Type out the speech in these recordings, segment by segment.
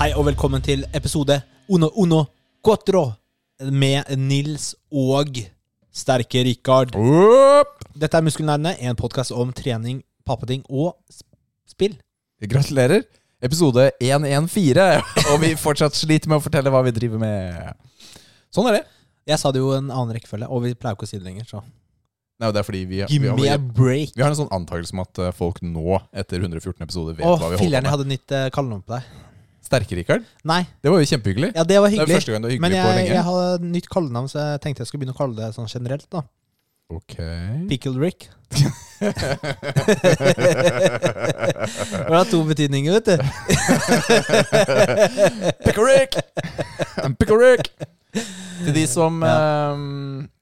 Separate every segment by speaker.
Speaker 1: Hei og velkommen til episode Uno Uno Quattro med Nils og sterke Rikard. Dette er Muskelnerdene, en podkast om trening, pappeting og sp- spill.
Speaker 2: Gratulerer. Episode 114, og vi fortsatt sliter med å fortelle hva vi driver med. Sånn er det.
Speaker 1: Jeg sa det jo i en annen rekkefølge, og vi pleier jo ikke å si det lenger. Så.
Speaker 2: Nei, det er fordi vi, vi,
Speaker 1: Give me a
Speaker 2: har,
Speaker 1: break.
Speaker 2: vi har en sånn antakelse om at eh, folk nå, etter 114 episoder, vet
Speaker 1: Å,
Speaker 2: hva vi holder
Speaker 1: filler'n,
Speaker 2: på
Speaker 1: jeg
Speaker 2: med.
Speaker 1: hadde nytt eh, kallenavn på deg.
Speaker 2: Sterke, Rikard.
Speaker 1: Nei,
Speaker 2: Det var jo kjempehyggelig.
Speaker 1: ja, det var
Speaker 2: Det er
Speaker 1: hyggelig.
Speaker 2: første gang du er
Speaker 1: Men
Speaker 2: hyggelig på
Speaker 1: jeg,
Speaker 2: lenge.
Speaker 1: jeg hadde nytt kallenavn, så jeg tenkte jeg skulle begynne å kalle det sånn generelt. da Pickle Rick.
Speaker 2: Ok.
Speaker 1: Det har to betydninger, vet du.
Speaker 2: Pickle Rick! I'm Pickle Rick! Til de som eh,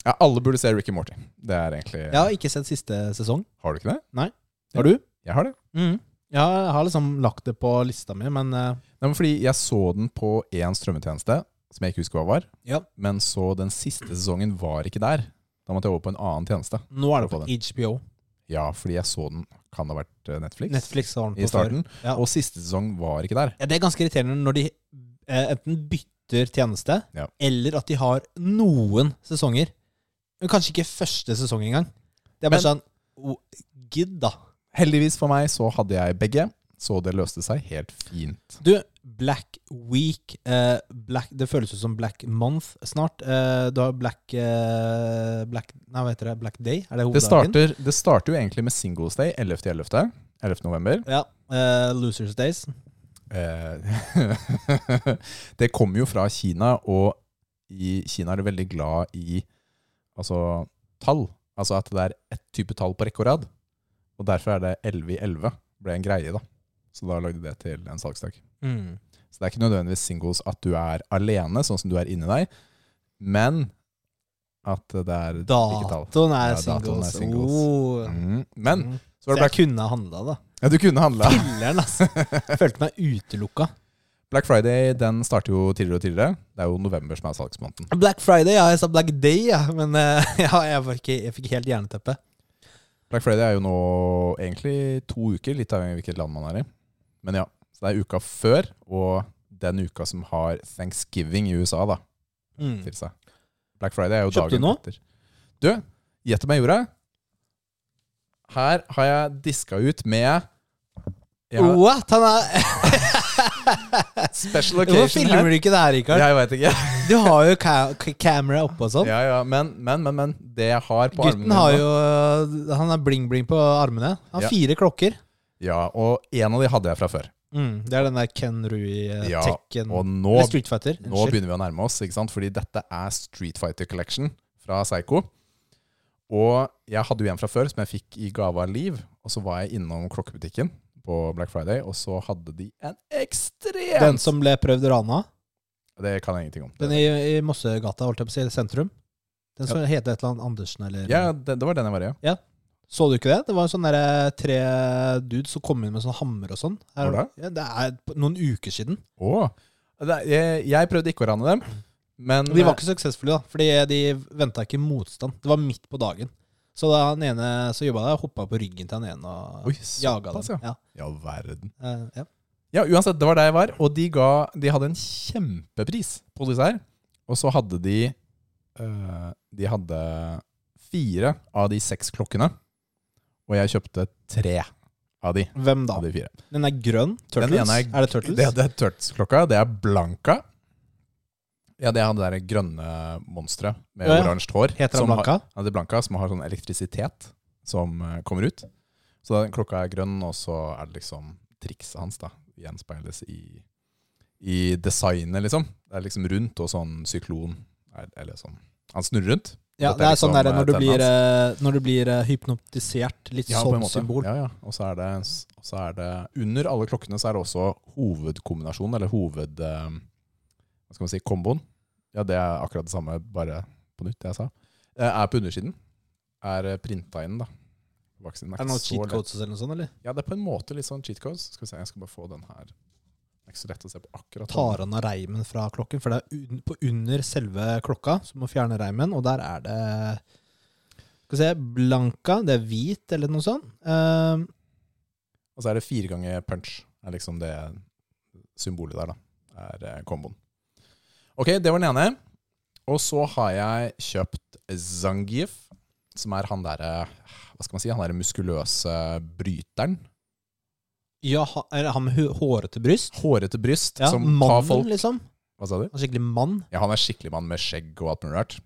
Speaker 2: ja, alle burde se Ricky Morty. Det er egentlig
Speaker 1: Jeg har ikke sett siste sesong.
Speaker 2: Har du ikke det?
Speaker 1: Nei.
Speaker 2: Har du? Jeg har det.
Speaker 1: Mm. Ja, jeg har liksom lagt det på lista mi, men eh,
Speaker 2: Nei, men fordi jeg så den på én strømmetjeneste, som jeg ikke husker hva var.
Speaker 1: Ja.
Speaker 2: Men så den siste sesongen var ikke der. Da måtte jeg over på en annen tjeneste.
Speaker 1: nå er det på
Speaker 2: På
Speaker 1: HBO.
Speaker 2: Ja, fordi jeg så den Kan det ha vært eh, Netflix?
Speaker 1: Netflix har den på
Speaker 2: I starten.
Speaker 1: før. Ja.
Speaker 2: Og siste sesong var ikke der.
Speaker 1: Ja, det er ganske irriterende når de eh, enten bytter tjeneste,
Speaker 2: Ja.
Speaker 1: eller at de har noen sesonger. Men kanskje ikke første sesong engang. Det er bare sånn oh, Gidd, da.
Speaker 2: Heldigvis for meg så hadde jeg begge, så det løste seg helt fint.
Speaker 1: Du, Black Week eh, Black, Det føles ut som Black Month snart. Eh, du har Black, eh, Black Nei, hva heter det? Black Day? Er det
Speaker 2: Det
Speaker 1: hoveddagen?
Speaker 2: starter, det starter jo egentlig med Singles Day 11.11. 11. november.
Speaker 1: Ja. eh, Losers Days.
Speaker 2: Eh, det kommer jo fra Kina, og i Kina er du veldig glad i altså, tall. Altså at det er ett type tall på rekke og rad. Og derfor er det 11 i 11 ble en greie, da. Så da lagde de det til en salgsdag.
Speaker 1: Mm.
Speaker 2: Så det er ikke nødvendigvis singles at du er alene, sånn som du er inni deg, men at det er ikke tall.
Speaker 1: Datoen er
Speaker 2: Ja, datoen er
Speaker 1: singles.
Speaker 2: singles.
Speaker 1: Oh.
Speaker 2: Mm. Men
Speaker 1: Mm.
Speaker 2: så
Speaker 1: Så
Speaker 2: var det
Speaker 1: jeg
Speaker 2: Black,
Speaker 1: kunne ha handla, da.
Speaker 2: ja, du kunne handla.
Speaker 1: Filler'n, altså. Følte meg utelukka.
Speaker 2: Black Friday den starter jo tidligere og tidligere. Det er jo november som er salgsmåneden.
Speaker 1: Black Friday, ja. Jeg sa Black Day, ja. men eh, ja, jeg, var ikke, jeg fikk helt jerneteppe.
Speaker 2: Black Friday er jo nå egentlig to uker, litt avhengig av hvilket land man er i. Men ja, så det er uka før, og den uka som har Thanksgiving i USA, da,
Speaker 1: Mm.
Speaker 2: til seg. Black Friday er jo
Speaker 1: Kjøpte du
Speaker 2: dagen
Speaker 1: noe?
Speaker 2: etter. Du, gjett om jeg gjorde. Her har jeg diska ut med jeg har
Speaker 1: What? Han er
Speaker 2: Special
Speaker 1: Hvorfor
Speaker 2: occasion
Speaker 1: filmer
Speaker 2: her.
Speaker 1: du ikke det her, Rikard?
Speaker 2: Jeg veit ikke.
Speaker 1: Du har jo ka k- camera oppe og sånn.
Speaker 2: Ja, ja, men, men, men, men. Det jeg har på
Speaker 1: Gutten
Speaker 2: armene
Speaker 1: har
Speaker 2: mine-
Speaker 1: jo eh, Han er bling-bling på armene. Han har
Speaker 2: Ja.
Speaker 1: fire klokker.
Speaker 2: Ja, og en av de hadde jeg fra før.
Speaker 1: Mm, det er den der Ken Rui eh,
Speaker 2: Ja,
Speaker 1: Tekken
Speaker 2: Og nå
Speaker 1: Eller Street Fighter.
Speaker 2: Nå
Speaker 1: Unnskyld.
Speaker 2: begynner vi å nærme oss, ikke sant? fordi dette er Street Fighter Collection fra Psycho. Og jeg hadde jo en fra før som jeg fikk i gave av Liv. Og så var jeg innom klokkebutikken på Black Friday, og så hadde de en ekstremt
Speaker 1: Den som ble prøvd rana.
Speaker 2: Det kan jeg ingenting om.
Speaker 1: Den i, i Mossegata, holdt jeg på å si, sentrum. Den som heter et eller annet Andersen, eller
Speaker 2: ja, det, det var den jeg var i. ja.
Speaker 1: Så du ikke det? Det var en sånn derre tre dudes som kom inn med sånn hammer og sånn. Er-
Speaker 2: Hvor
Speaker 1: Ja, det er på- noen uker siden.
Speaker 2: Å. Det, jeg, jeg prøvde ikke å rane dem, men
Speaker 1: De var ikke suksessfulle, da, fordi de venta ikke motstand. Det var midt på dagen. Så da han ene som jobba der, hoppa på ryggen til han ene og
Speaker 2: Oi,
Speaker 1: jaga
Speaker 2: såpass, ja.
Speaker 1: dem. Ja.
Speaker 2: I all verden.
Speaker 1: Eh, ja.
Speaker 2: Ja, uansett, det var der jeg var, og de, ga, de hadde en kjempepris på dessert. Og så hadde de eh, De hadde fire av de seks klokkene, og jeg kjøpte tre av de.
Speaker 1: Hvem da?
Speaker 2: Av de fire.
Speaker 1: Den er grønn. Turtles?
Speaker 2: Den ene
Speaker 1: er, det Turtles?
Speaker 2: Det, det er Turtles-klokka, det er Blanca. Ja, det er han der grønne monsteret med
Speaker 1: Ja, ja.
Speaker 2: oransje hår.
Speaker 1: Heter han
Speaker 2: som
Speaker 1: Blanka?
Speaker 2: Har, ja, det er Blanca, som har sånn elektrisitet som eh, kommer ut. Så den klokka er grønn, og så er det liksom trikset hans da, gjenspeiles i, i designet, liksom. Det er liksom rundt, og sånn syklon, er- eller sånn. Han snurrer rundt.
Speaker 1: Ja,
Speaker 2: Dette
Speaker 1: det
Speaker 2: er
Speaker 1: er sånn
Speaker 2: liksom,
Speaker 1: der, når, du
Speaker 2: eh,
Speaker 1: blir,
Speaker 2: tennene
Speaker 1: eh, når du blir eh, hypnotisert. Litt
Speaker 2: Ja, på en
Speaker 1: sånn
Speaker 2: måte.
Speaker 1: symbol.
Speaker 2: Ja, ja. Og så er, det, og så er det Under alle klokkene så er det også hovedkombinasjonen, eller hoved... eh, Hva skal man si? Komboen. Ja, det er akkurat det samme, bare på nytt, det jeg sa. Eh, Er på undersiden. Er eh, printa inn, da. Vaksinen
Speaker 1: Er det
Speaker 2: ikke
Speaker 1: noen
Speaker 2: så
Speaker 1: cheat
Speaker 2: lett.
Speaker 1: codes eller noe sånt? eller?
Speaker 2: Ja, det er på en måte litt sånn cheat codes. Skal vi se, jeg skal bare få den her. Det er ikke så lett å se på akkurat.
Speaker 1: Tar han av reimen fra klokken? For det er un på under selve klokka som må fjerne reimen, og der er det Skal vi se Blanca, det er hvit, eller noe sånt. Ehm,
Speaker 2: Og så er det fire ganger punch. er liksom det symbolet der, da. er eh, komboen. Ok, det var den ene. Og så har jeg kjøpt Zangief, som er han derre Hva skal man si? Han derre muskuløse bryteren.
Speaker 1: Ja, ha- er det han med hu- hårete bryst?
Speaker 2: Hårete bryst.
Speaker 1: Ja,
Speaker 2: som tar
Speaker 1: mannen,
Speaker 2: folk
Speaker 1: liksom.
Speaker 2: Hva sa du?
Speaker 1: Han er skikkelig mann.
Speaker 2: Ja, han er skikkelig mann med skjegg og alt mulig rart.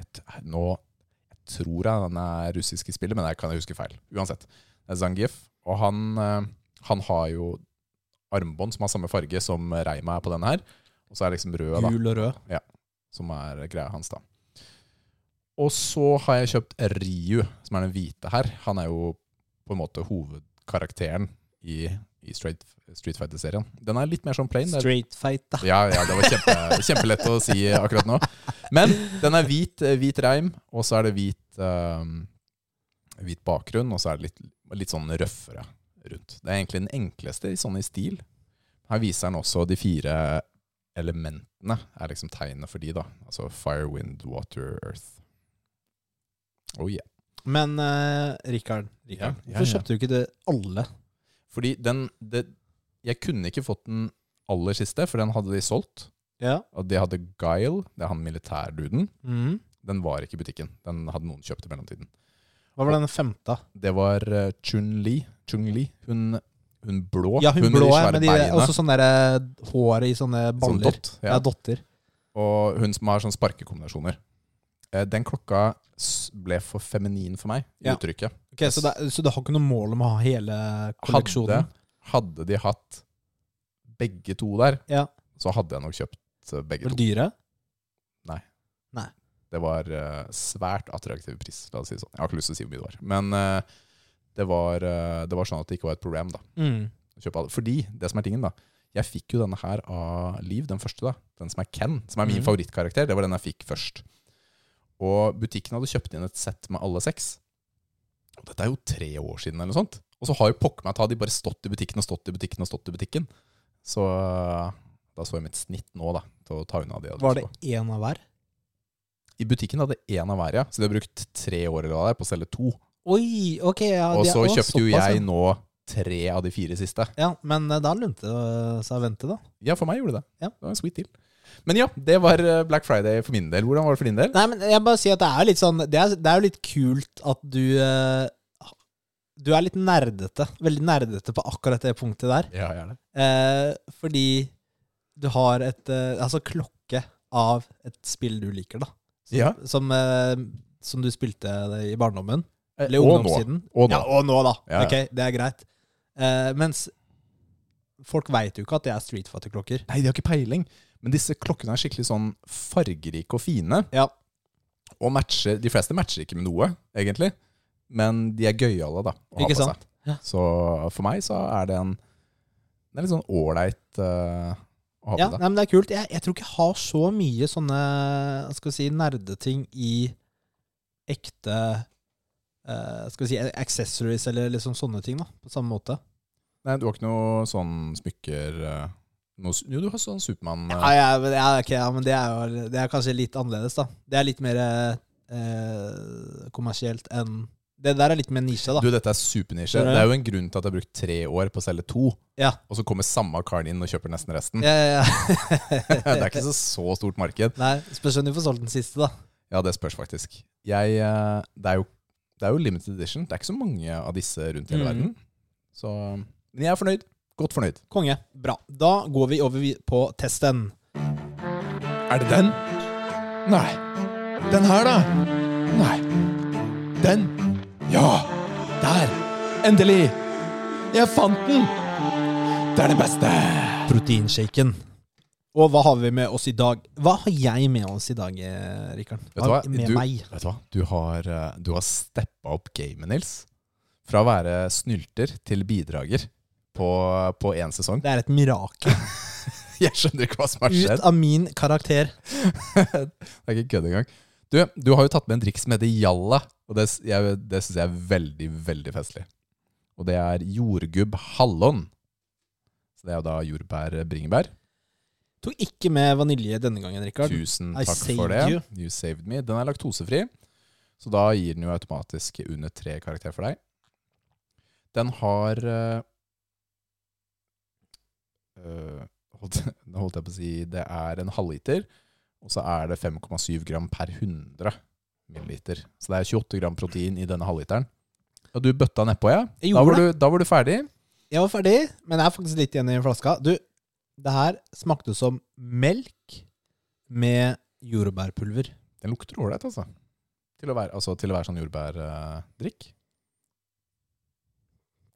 Speaker 2: Jeg t- Nå jeg tror jeg han er russisk i spillet, men jeg kan huske feil. Uansett. Det er Zangief. Og han, eh, han har jo armbånd som har samme farge som Reima er på denne her. Og så er det liksom rød, da,
Speaker 1: Gul og rød.
Speaker 2: som er greia hans, da. Og så har jeg kjøpt Ryu, som er den hvite her. Han er jo på en måte hovedkarakteren i, i Street, Street Fighter-serien. Den er litt mer sånn plain. Det er
Speaker 1: Straight fight, da.
Speaker 2: ja, ja, det var kjempe, kjempelett å si akkurat nå. Men den er hvit, eh, hvit reim, og så er det hvit, eh, hvit bakgrunn, og så er det litt, litt sånn røffere rundt. Det er egentlig den enkleste i sånn i stil. Her viser den også de fire elementene, er liksom tegnet for de da. Altså fire, wind, water, earth. Oh yeah.
Speaker 1: Men eh, Rikard, Rikard
Speaker 2: Ja, ja,
Speaker 1: hvorfor
Speaker 2: ja.
Speaker 1: kjøpte du ikke det alle?
Speaker 2: Fordi den, det, jeg kunne ikke fått den aller siste, for den hadde de solgt.
Speaker 1: Ja.
Speaker 2: Og de hadde Guile, det er han militærduden.
Speaker 1: Mhm.
Speaker 2: Den var ikke i butikken. Den hadde noen kjøpt i mellomtiden.
Speaker 1: Hva var den femte?
Speaker 2: Det var eh, Chun-Li. Chun-Li. Hun, hun blå.
Speaker 1: Ja, hun,
Speaker 2: med
Speaker 1: blå
Speaker 2: de
Speaker 1: er
Speaker 2: svære
Speaker 1: med de
Speaker 2: beina.
Speaker 1: også sånne der, eh, håret i sånne
Speaker 2: sånn
Speaker 1: baller.
Speaker 2: dott.
Speaker 1: ja.
Speaker 2: Ja.
Speaker 1: dotter.
Speaker 2: Og hun som har sånn sparkekombinasjoner. Eh, Den klokka s- ble for feminin for meg, i
Speaker 1: Ja.
Speaker 2: uttrykket.
Speaker 1: Ok, så, det, så du har ikke noe mål om å ha hele
Speaker 2: Hadde,
Speaker 1: kolleksjonen?
Speaker 2: hadde de hatt begge to der,
Speaker 1: Ja.
Speaker 2: så hadde jeg nok kjøpt eh, begge
Speaker 1: Vel
Speaker 2: to.
Speaker 1: dyre?
Speaker 2: Det var eh, svært attraktiv pris, la oss si det sånn. Jeg har ikke lyst til å si hvor mye det var. Men eh, det var, eh, det var sånn at det ikke var et problem, da.
Speaker 1: Mm.
Speaker 2: å kjøpe alle. Fordi, det som er tingen da, jeg fikk jo denne her av Liv, den første da, den som er Ken, som er min
Speaker 1: Mhm.
Speaker 2: favorittkarakter, det var den jeg fikk først. Og butikken hadde kjøpt inn et sett med alle seks. Og dette er jo tre år siden eller noe sånt. Og så har jo pokker meg ta, de bare stått i butikken og stått i butikken og stått i butikken. Så øh, da så jeg mitt snitt nå da, til å ta unna det. jeg hadde
Speaker 1: Var
Speaker 2: lyst
Speaker 1: det
Speaker 2: på.
Speaker 1: én av hver?
Speaker 2: I butikken hadde en av hver, ja. Så de har brukt tre år eller hva det er på å selge to.
Speaker 1: Oi, ok. Ja,
Speaker 2: og
Speaker 1: det-
Speaker 2: så
Speaker 1: å,
Speaker 2: kjøpte jo
Speaker 1: såpass,
Speaker 2: jeg
Speaker 1: ja.
Speaker 2: nå tre av de fire siste.
Speaker 1: Ja, Men eh, da lønte det seg å vente, da.
Speaker 2: Ja, for meg gjorde det.
Speaker 1: Ja.
Speaker 2: Det var en sweet deal. Men ja, det var eh, Black Friday for min del. Hvordan var det for din del?
Speaker 1: Nei, men jeg bare sier at det er jo litt sånn Det er, det er jo litt kult at du eh, Du er litt nerdete. Veldig nerdete på akkurat det punktet der.
Speaker 2: Ja, gjerne.
Speaker 1: Eh, fordi du har et eh, Altså klokke av et spill du liker, da. Som,
Speaker 2: Ja.
Speaker 1: som, eh, som du spilte i barndommen. Eller
Speaker 2: og nå.
Speaker 1: ungdomstiden.
Speaker 2: Og nå.
Speaker 1: Ja, og nå, da.
Speaker 2: Eh, Ja, ja.
Speaker 1: Ok, det er greit. Eh, mens folk veit jo ikke at det er Street Fighter-klokker.
Speaker 2: Nei, de har ikke peiling. Men disse klokkene er skikkelig sånn fargerike og fine.
Speaker 1: Ja.
Speaker 2: Og matcher, de fleste matcher ikke med noe, egentlig. Men de er gøyale, da. å ha
Speaker 1: Ikke
Speaker 2: på seg.
Speaker 1: sant? Ja.
Speaker 2: Så for meg så er det en Det er litt sånn ålreit eh, å ha
Speaker 1: Ja, nei,
Speaker 2: på seg.
Speaker 1: men det er kult. Jeg, jeg tror ikke jeg har så mye sånne hva skal vi si, nerdeting i ekte eh, Skal vi si accessories eller liksom sånne ting, da. På samme måte.
Speaker 2: Nei, du har ikke noe sånn smykker eh, noe, s- Jo, du har sånn Supermann eh,
Speaker 1: Ja, ja, men, ja, ok, ja, men det, er jo, det er kanskje litt annerledes, da. Det er litt mer eh, kommersielt enn Det der er litt mer nisje, da.
Speaker 2: Du, dette er supernisje.
Speaker 1: Skjønner du?
Speaker 2: Det er jo en grunn til at jeg har brukt tre år på å selge to,
Speaker 1: Ja.
Speaker 2: og så kommer samme karen inn og kjøper nesten resten.
Speaker 1: Ja, ja,
Speaker 2: det
Speaker 1: ja.
Speaker 2: er ikke så, så stort marked.
Speaker 1: Nei, Spørs om du får solgt den siste, da.
Speaker 2: Ja, det spørs faktisk. Jeg, eh, det, er jo, det er jo limited edition. Det er ikke så mange av disse rundt i hele
Speaker 1: Mhm.
Speaker 2: verden. Så, men jeg er fornøyd. Godt fornøyd.
Speaker 1: Konge. Bra. Da går vi over vi- på testen.
Speaker 2: Er det den? Nei. Den her, da? Nei. Den? Ja! Der! Endelig! Jeg fant den! Det er det beste!
Speaker 1: Proteinshaken. Og hva har vi med oss i dag? Hva har jeg med oss i dag, eh, Rikard?
Speaker 2: Vet du
Speaker 1: Hva
Speaker 2: hva?
Speaker 1: Med
Speaker 2: Du-
Speaker 1: meg.
Speaker 2: Vet du hva? Du har, eh, du har steppa opp gamet, Nils. Fra å være snylter til bidrager på, på én sesong.
Speaker 1: Det er et mirakel.
Speaker 2: Jeg skjønner ikke hva som har
Speaker 1: Ut
Speaker 2: skjedd.
Speaker 1: av min karakter.
Speaker 2: Det er ikke kødd engang. Du, du har jo tatt med en drikk som heter Jalla, og det, s- jeg- det syns jeg er veldig, veldig festlig. Og det er jordgubb hallon. Så det er jo da eh, jordbær-bringebær.
Speaker 1: Tok ikke med vanilje denne gangen, Rikard.
Speaker 2: Tusen
Speaker 1: I
Speaker 2: takk
Speaker 1: saved
Speaker 2: for det.
Speaker 1: you.
Speaker 2: You. saved me. Den er laktosefri, så da gir den jo automatisk under tre karakter for deg. Den har eh, eh, Hva holdt, nå holdt jeg på å si det er en halvliter, og så er det 5,7 gram per 100 milliliter. Så det er 28 gram protein i denne halvliteren. Og du bøtta nedpå, ja.
Speaker 1: Jeg
Speaker 2: Da
Speaker 1: gjorde
Speaker 2: var, du, da var du ferdig.
Speaker 1: Jeg var ferdig, men det er faktisk litt igjen i flaska. Du, det her smakte som melk med jordbærpulver.
Speaker 2: Den lukter ålreit, altså. Til å være, altså, til å være sånn jordbærdrikk.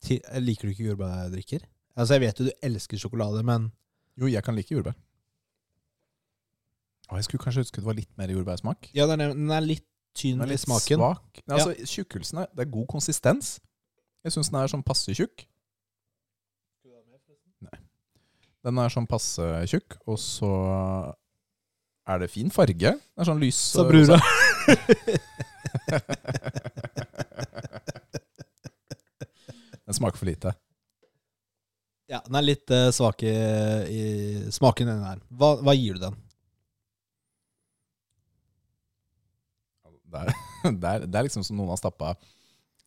Speaker 1: Ti- Liker du ikke jordbærdrikker? Altså, jeg vet jo du elsker sjokolade, men
Speaker 2: Jo, jeg kan like jordbær. Å, jeg skulle kanskje ønske det var litt mer jordbærsmak.
Speaker 1: Ja, den er, den er litt tynn
Speaker 2: Den er
Speaker 1: i
Speaker 2: litt
Speaker 1: smaken.
Speaker 2: svak. Nei, altså, Tjukkelsen er, det er god konsistens. Jeg syns den er sånn passe tjukk. Nei. Den er sånn passe tjukk, og så er det fin farge. Den er sånn lys
Speaker 1: Sa brura.
Speaker 2: Den smaker for lite.
Speaker 1: Ja, den er litt eh, svak i, i smaken, den der. Hva, hva gir du den?
Speaker 2: Det er, det er, det er liksom som noen har stappa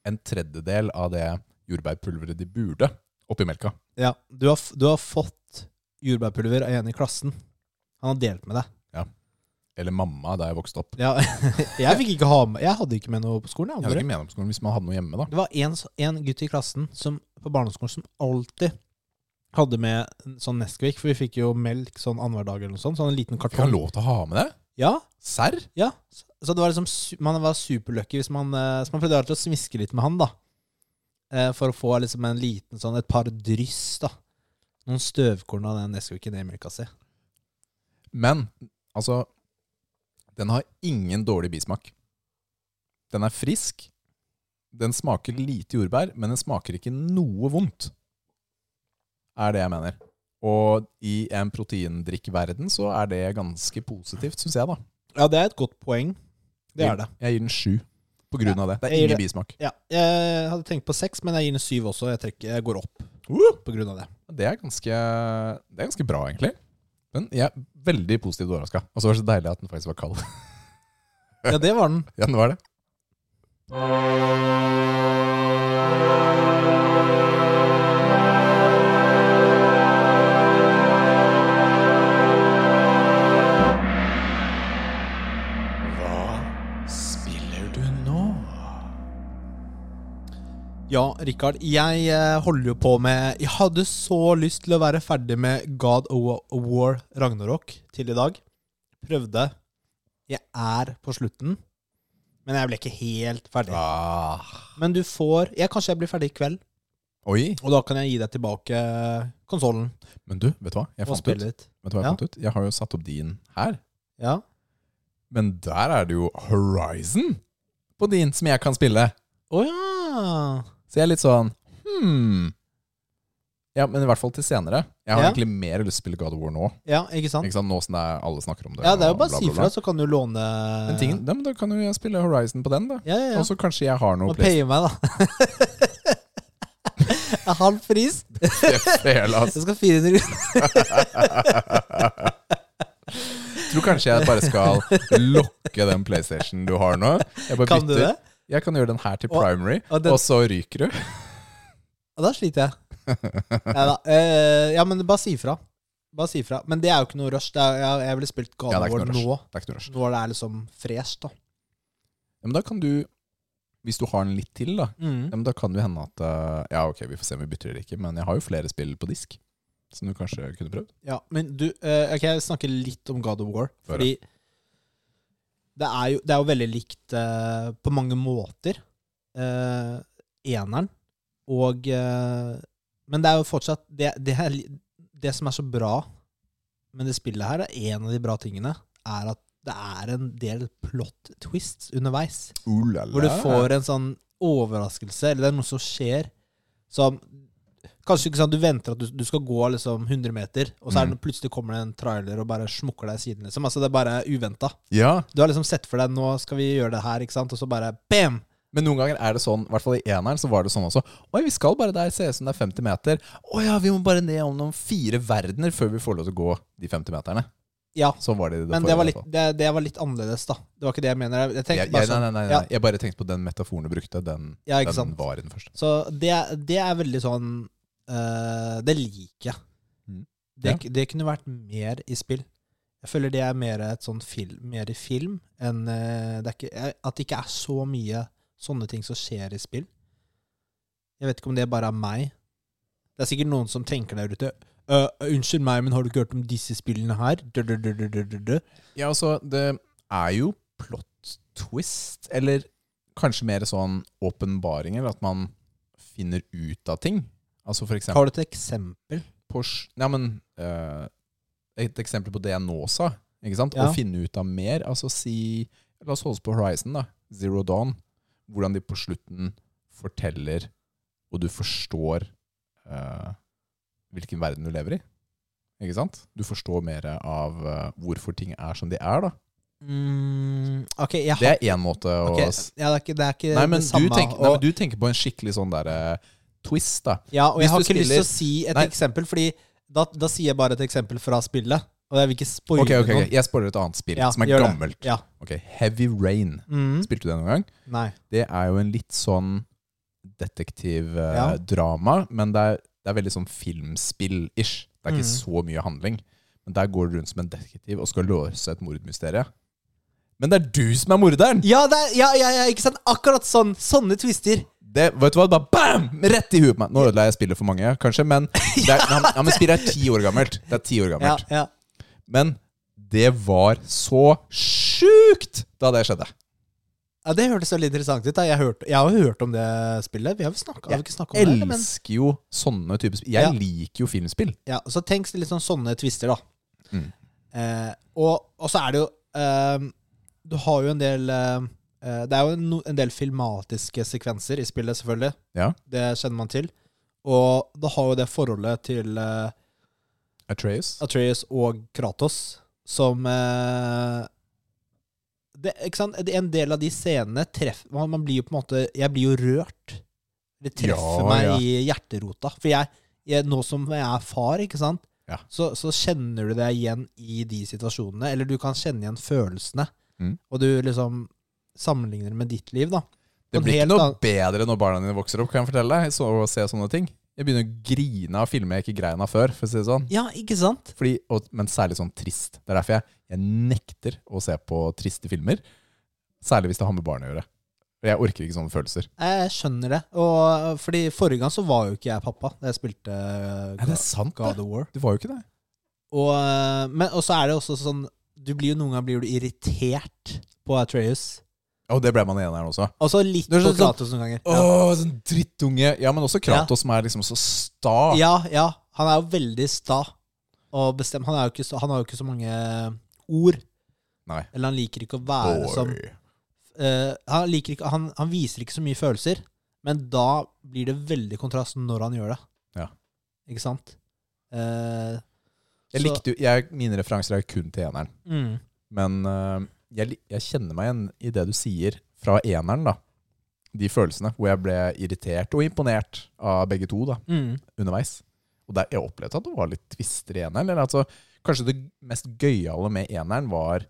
Speaker 2: en tredjedel av det jordbærpulveret de burde, oppi melka.
Speaker 1: Ja, du har, f- du har fått jordbærpulver av en i klassen. Han har delt med deg.
Speaker 2: Eller mamma, da jeg vokste opp.
Speaker 1: Ja, jeg fikk ikke ha med Jeg hadde ikke med noe på skolen.
Speaker 2: Jeg
Speaker 1: Jeg
Speaker 2: hadde
Speaker 1: aldri.
Speaker 2: ikke medlemskolen hvis man hadde noe hjemme, da.
Speaker 1: Det var en, s- en gutt i klassen som, på barneskolen som alltid hadde med en sånn Nesquik, for vi fikk jo melk sånn annenhver dag eller noe sånt. Sånn en liten
Speaker 2: Fikk han
Speaker 1: kartong.
Speaker 2: lov til å ha med det?
Speaker 1: Ja,
Speaker 2: Serr?
Speaker 1: ja. Så- Så det var liksom, su- man var superlucky hvis man, eh, så man prøvde alltid å smiske litt med han, da. Eh, For å få liksom en liten sånn, et par dryss, da. Noen støvkorn av den Nesquiken i melka si.
Speaker 2: Men altså Den har ingen dårlig bismak. Den er frisk. Den smaker lite jordbær, men den smaker ikke noe vondt. Er det jeg mener. Og i en proteindrikkverden så er det ganske positivt, syns jeg, da.
Speaker 1: Ja, det er et godt poeng. Det er det.
Speaker 2: Jeg gir den sju på grunn av det. Det
Speaker 1: jeg
Speaker 2: er
Speaker 1: gir
Speaker 2: ingen bismak.
Speaker 1: Ja, jeg hadde tenkt på seks, men jeg gir den syv også. Jeg, trekker, jeg går opp på grunn av det.
Speaker 2: Det er ganske, det er ganske bra, egentlig. Men jeg er veldig positivt overraska. Og så var det så deilig at den faktisk var kald.
Speaker 1: Ja, det var den.
Speaker 2: Ja, den var det. Hva spiller du nå?
Speaker 1: Ja, Rikard, jeg eh, holder jo på med Jeg hadde så lyst til å være ferdig med God of Wa- of War Ragnarok til i dag. Prøvde. Jeg er på slutten, men jeg ble ikke helt ferdig.
Speaker 2: Ah.
Speaker 1: Men du får jeg, Kanskje jeg blir ferdig i kveld,
Speaker 2: Oi,
Speaker 1: og da kan jeg gi deg tilbake konsollen
Speaker 2: men du, vet du hva? Jeg
Speaker 1: og
Speaker 2: fant ut.
Speaker 1: spille litt.
Speaker 2: Vet du hva jeg
Speaker 1: Ja.
Speaker 2: fant ut? Jeg har jo satt opp din her.
Speaker 1: Ja.
Speaker 2: Men der er det jo Horizon på din som jeg kan spille.
Speaker 1: Å ja.
Speaker 2: Så jeg er litt sånn hmm. Ja, men i hvert fall til senere. Jeg har
Speaker 1: Ja.
Speaker 2: egentlig mer lyst til å spille God of War nå.
Speaker 1: Ja, ikke sant?
Speaker 2: Ikke sant? Nå som det er, alle snakker om det.
Speaker 1: Ja, det er jo
Speaker 2: og
Speaker 1: bare
Speaker 2: bla,
Speaker 1: å si
Speaker 2: bla,
Speaker 1: fra,
Speaker 2: bla.
Speaker 1: så kan du låne
Speaker 2: Men tingen, Sånn ja, men da kan jo jeg spille Horizon på den, da.
Speaker 1: Ja, ja, ja.
Speaker 2: Og så kanskje jeg har
Speaker 1: Må
Speaker 2: noe
Speaker 1: paye meg, da. En halv pris.
Speaker 2: PlayStation.
Speaker 1: Jeg skal 400 kroner.
Speaker 2: Jeg tror kanskje jeg bare skal lokke den PlayStation du har nå. Jeg bare
Speaker 1: Kan du
Speaker 2: bytter.
Speaker 1: det?
Speaker 2: Jeg kan gjøre den her til
Speaker 1: Og-
Speaker 2: primary, og,
Speaker 1: og den-
Speaker 2: så ryker du.
Speaker 1: Ja, da sliter jeg. Neida. Eh, ja, men bare si fra. Bare si fra. Men det er jo ikke noe rush. Det er, jeg, jeg ville spilt
Speaker 2: Ja,
Speaker 1: God
Speaker 2: det er
Speaker 1: of
Speaker 2: ikke
Speaker 1: War
Speaker 2: noe rush.
Speaker 1: nå.
Speaker 2: Det er ikke noe rush.
Speaker 1: Når det er liksom fresht, da.
Speaker 2: Ja, men da kan du, hvis du har den litt til, da, Ja, men da kan det jo hende at eh, Ja, ok, vi får se om vi bytter eller ikke, men jeg har jo flere spill på disk. Som du kanskje kunne prøvd.
Speaker 1: Ja, men du eh, Ok, jeg snakker litt om God of War.
Speaker 2: Bare.
Speaker 1: Fordi det er jo, det er jo veldig likt eh, på mange måter. eh, eneren. Og eh, Men det er jo fortsatt det, det, er, li- det som er så bra med det spillet her, er en av de bra tingene, er at det er en del plot twists underveis. Hvor du får en sånn overraskelse, eller det er noe som skjer som Kanskje ikke sånn at du venter at du, du skal gå liksom 100 meter, og så er det, plutselig kommer det en trailer og bare smukker deg i siden. liksom. Altså Det er bare uventa.
Speaker 2: Ja,
Speaker 1: Du har liksom sett for deg 'nå skal vi gjøre det her', ikke sant? og så bare bam!
Speaker 2: Men noen ganger er det sånn, i hvert fall i eneren, så var det sånn også. Oi, vi skal bare der, ser ut som det er 50 meter. Å ja, vi må bare ned om noen fire verdener før vi får lov til å gå de 50 meterne.
Speaker 1: Ja.
Speaker 2: Sånn var det i det
Speaker 1: Men
Speaker 2: forrige,
Speaker 1: det var,
Speaker 2: i
Speaker 1: litt,
Speaker 2: hvert fall.
Speaker 1: det, det var litt annerledes, da. Det var ikke det jeg mener. Jeg
Speaker 2: jeg,
Speaker 1: tenkte
Speaker 2: jeg,
Speaker 1: bare
Speaker 2: nei, nei,
Speaker 1: sånn,
Speaker 2: nei, nei.
Speaker 1: ja.
Speaker 2: jeg bare tenkte på den metaforen du brukte. Den,
Speaker 1: ja, ikke
Speaker 2: den
Speaker 1: sant?
Speaker 2: var i den første.
Speaker 1: Så det, det er veldig sånn eh, Det liker jeg.
Speaker 2: Mm.
Speaker 1: Det, det kunne vært mer i spill. Jeg føler det er mer et sånn film, mer i film enn eh, det er ikke, eh, At det ikke er så mye sånne ting som skjer i spill. Jeg vet ikke om det bare er meg. Det er sikkert noen som tenker der ute «Øh, Unnskyld meg, men har du ikke hørt om disse spillene her? Dø, dø, dø, dø, dø, dø, dø.
Speaker 2: Ja, altså, det er jo plot twist, eller kanskje mer sånn åpenbaring, eller at man finner ut av ting. Altså for eksempel
Speaker 1: Har du et eksempel?
Speaker 2: på sj- Nei, men eh, et eksempel på det jeg nå sa, ikke sant?
Speaker 1: Ja.
Speaker 2: Å finne ut av mer, altså si La oss holde oss på Horizon, da. Zero Dawn. Hvordan de på slutten forteller, og du forstår eh, hvilken verden du lever i. Ikke sant? Du forstår mer av eh, hvorfor ting er som de er, da.
Speaker 1: Mm, ok, jeg har
Speaker 2: Det er én måte å
Speaker 1: ok, ja, det, er ikke, det er ikke
Speaker 2: Nei, men
Speaker 1: det samme.
Speaker 2: du tenker, nei,
Speaker 1: og-
Speaker 2: men du tenker på en skikkelig sånn derre twist, da.
Speaker 1: Ja, og
Speaker 2: Hvis
Speaker 1: jeg har
Speaker 2: du
Speaker 1: ikke lyst til å
Speaker 2: spiller-
Speaker 1: si et
Speaker 2: Nei.
Speaker 1: eksempel, Fordi da, da sier jeg bare et eksempel fra spillet. Og jeg vil ikke spoile
Speaker 2: Ok, ok, ok.
Speaker 1: noen.
Speaker 2: Jeg spoiler et annet spill
Speaker 1: Ja,
Speaker 2: som er
Speaker 1: gjør det.
Speaker 2: gammelt.
Speaker 1: Ja.
Speaker 2: Ok, Heavy Rain.
Speaker 1: Mm.
Speaker 2: Spilte du det noen gang?
Speaker 1: Nei.
Speaker 2: Det er jo en litt sånn
Speaker 1: Ja.
Speaker 2: detektivdrama, drama men det er, det er veldig sånn filmspill-ish. Det er ikke
Speaker 1: Mm.
Speaker 2: så mye handling. Men der går du rundt som en detektiv og skal løse et mordmysterium. Men det er du som er morderen!
Speaker 1: Ja, det er, ja, ja, ja, ikke sant? Akkurat sånn. Sånne twister.
Speaker 2: Det, vet du hva? Bare bam! Rett i huet på meg. Nå ødela jeg spillet for mange, kanskje, men, det er, ja, men- ja, men spillet er ti år gammelt. Det er ti år
Speaker 1: Ja,
Speaker 2: gammelt.
Speaker 1: ja.
Speaker 2: Men det var så sjukt da det skjedde.
Speaker 1: ja Det hørtes veldig interessant ut. Da. Jeg, har hørt, jeg har jo hørt om det spillet. Vi har jo snakket, har vi ikke snakket om det. eller? Men,
Speaker 2: Elsker jo sånne typer spill. Jeg
Speaker 1: Ja.
Speaker 2: liker jo filmspill.
Speaker 1: ja, så tenk litt sånn sånne twister, da.
Speaker 2: Mm.
Speaker 1: Eh, og, og så er det jo eh, Du har jo en del eh, eh, Det er jo no, en del filmatiske sekvenser i spillet, selvfølgelig.
Speaker 2: Ja.
Speaker 1: Det kjenner man til. Og da har jo det forholdet til eh,
Speaker 2: Atreus.
Speaker 1: Atreus og Kratos som eh, det, ikke sant? Det- En del av de scenene treff, man, man blir jo på en måte Jeg blir jo rørt. Det treffer
Speaker 2: Ja,
Speaker 1: meg
Speaker 2: ja.
Speaker 1: i hjerterota. For jeg, jeg, nå som jeg er far, ikke sant,
Speaker 2: Ja.
Speaker 1: så, så kjenner du deg igjen i de situasjonene. Eller du kan kjenne igjen følelsene.
Speaker 2: Mm.
Speaker 1: Og du liksom sammenligner det med ditt liv, da. På
Speaker 2: Det
Speaker 1: en
Speaker 2: blir
Speaker 1: helt
Speaker 2: ikke noe
Speaker 1: annen-
Speaker 2: bedre når barna dine vokser opp, kan jeg fortelle deg. Så å se sånne ting. Jeg begynner å grine av filmer jeg ikke grein av før, for å si det sånn.
Speaker 1: Ja, ikke sant?
Speaker 2: Fordi, og, men særlig sånn trist. Det er derfor jeg, jeg nekter å se på triste filmer. Særlig hvis det har med barn å gjøre. For Jeg orker ikke sånne følelser.
Speaker 1: Jeg skjønner det. Og, fordi forrige gang så var jo ikke jeg pappa da jeg spilte eh,
Speaker 2: Er det sant?
Speaker 1: God of War.
Speaker 2: Du var jo ikke det.
Speaker 1: Og, eh, men, og så er det også sånn Du blir jo noen ganger blir du irritert på Atreus.
Speaker 2: Og det ble man igjen her også.
Speaker 1: Og så litt
Speaker 2: Det er
Speaker 1: på
Speaker 2: sånn-
Speaker 1: Kratos noen ganger.
Speaker 2: Å, sånn drittunge. Ja, men også Kratos, som er liksom så sta.
Speaker 1: Ja. ja, ja. Han er jo veldig sta og bestemt. Han, er jo ikke så, han har jo ikke så mange ord.
Speaker 2: Nei.
Speaker 1: Eller han liker ikke å være
Speaker 2: Oi.
Speaker 1: som eh, han, liker ikke, han, han viser ikke så mye følelser, men da blir det veldig kontrast når han gjør det.
Speaker 2: Ja.
Speaker 1: Ikke sant? Eh,
Speaker 2: Jeg
Speaker 1: så-
Speaker 2: likte jo jeg, Mine referanser er jo kun til eneren.
Speaker 1: mm,
Speaker 2: Men øh, jeg, li- jeg kjenner meg igjen i det du sier fra eneren, da. De følelsene hvor jeg ble irritert og imponert av begge to da,
Speaker 1: mm.
Speaker 2: underveis. Og der, jeg opplevde at det var litt tvister i eneren. Eller altså, kanskje det mest gøyale med eneren var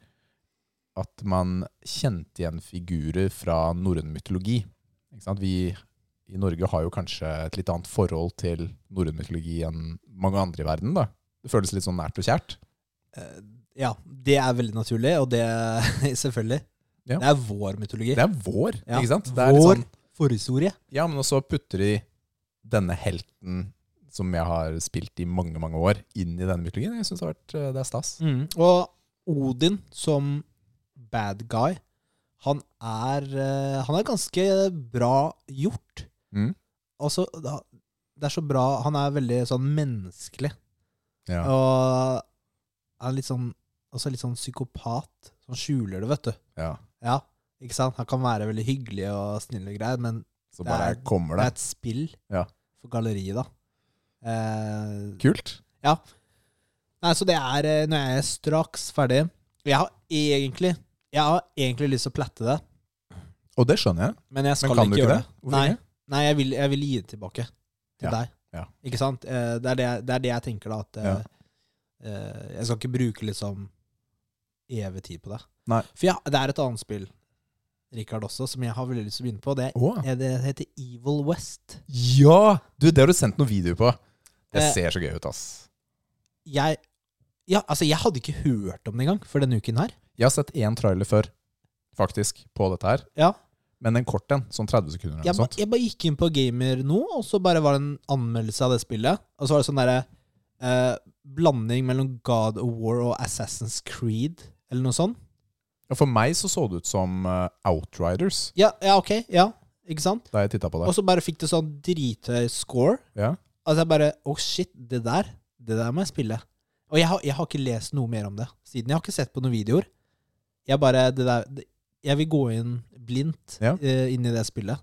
Speaker 2: at man kjente igjen figurer fra norrøn mytologi. Ikke sant? Vi i Norge har jo kanskje et litt annet forhold til norrøn mytologi enn mange andre i verden. da. Det føles litt sånn nært og kjært.
Speaker 1: Eh, ja, det er veldig naturlig, og det Selvfølgelig.
Speaker 2: Ja.
Speaker 1: Det er vår mytologi.
Speaker 2: Det er vår,
Speaker 1: Ja.
Speaker 2: ikke sant? Det er litt
Speaker 1: vår
Speaker 2: sånn,
Speaker 1: forhistorie.
Speaker 2: Ja, men også putter de denne helten som jeg har spilt i mange, mange år, inn i denne mytologien. Jeg synes det, har vært, eh, det er stas.
Speaker 1: Og Odin som bad guy, han er, eh, han er ganske bra gjort.
Speaker 2: Mm.
Speaker 1: Altså, da- det er så bra Han er veldig sånn menneskelig.
Speaker 2: Ja.
Speaker 1: Og han er litt sånn, også litt sånn psykopat. Han skjuler det, vet du.
Speaker 2: Ja.
Speaker 1: Ja, ikke sant? Han kan være veldig hyggelig og snill og greier, men
Speaker 2: Så
Speaker 1: Det
Speaker 2: bare
Speaker 1: er-
Speaker 2: kommer
Speaker 1: det
Speaker 2: det.
Speaker 1: er et spill
Speaker 2: Ja.
Speaker 1: for galleriet, da. Eh,
Speaker 2: Kult.
Speaker 1: Nei, så det er eh, Nå er jeg straks ferdig. Jeg har egentlig Jeg har egentlig lyst til å plette det,
Speaker 2: Og det skjønner jeg.
Speaker 1: men jeg skal
Speaker 2: Men kan
Speaker 1: ikke
Speaker 2: du ikke
Speaker 1: gjøre
Speaker 2: det?
Speaker 1: det.
Speaker 2: Hvorfor
Speaker 1: Nei,
Speaker 2: ikke?
Speaker 1: nei jeg, vil, jeg vil gi det tilbake til
Speaker 2: Ja,
Speaker 1: deg.
Speaker 2: ja.
Speaker 1: Ikke sant? Eh, Det er det, det er det jeg tenker, da. At eh, eh, jeg skal ikke bruke liksom evig tid på det.
Speaker 2: Nei.
Speaker 1: For ja, det er et annet spill, Rikard, også, som jeg har veldig lyst til å begynne på. Det,
Speaker 2: Å.
Speaker 1: er- eh, det heter Evil West.
Speaker 2: Ja! Du, det har du sendt noen videoer på. Det
Speaker 1: Eh.
Speaker 2: ser så gøy ut, ass.
Speaker 1: jeg ja, altså jeg hadde ikke hørt om det engang før denne uken her.
Speaker 2: Jeg har sett én trailer før, faktisk, på dette her.
Speaker 1: Ja.
Speaker 2: Men en kort en. Sånn 30 sekunder eller
Speaker 1: Jeg,
Speaker 2: noe
Speaker 1: ba,
Speaker 2: sånt.
Speaker 1: jeg bare gikk inn på gamer nå, og så bare var det en anmeldelse av det spillet. Og så var det sånn derre eh, blanding mellom God of War og Assassin's Creed, eller noe sånt.
Speaker 2: Og for meg så så det ut som eh, Outriders
Speaker 1: Ja, ja ok. Ja, ikke sant?
Speaker 2: da jeg titta på det.
Speaker 1: Og så bare fikk det sånn drithøy score.
Speaker 2: Ja.
Speaker 1: Altså jeg bare Å, shit, det der Det der må jeg spille. Og jeg har, jeg har ikke lest noe mer om det siden. Jeg har ikke sett på noen videoer. Jeg bare det der, det, Jeg vil gå inn blindt
Speaker 2: Ja.
Speaker 1: eh, inn i det spillet.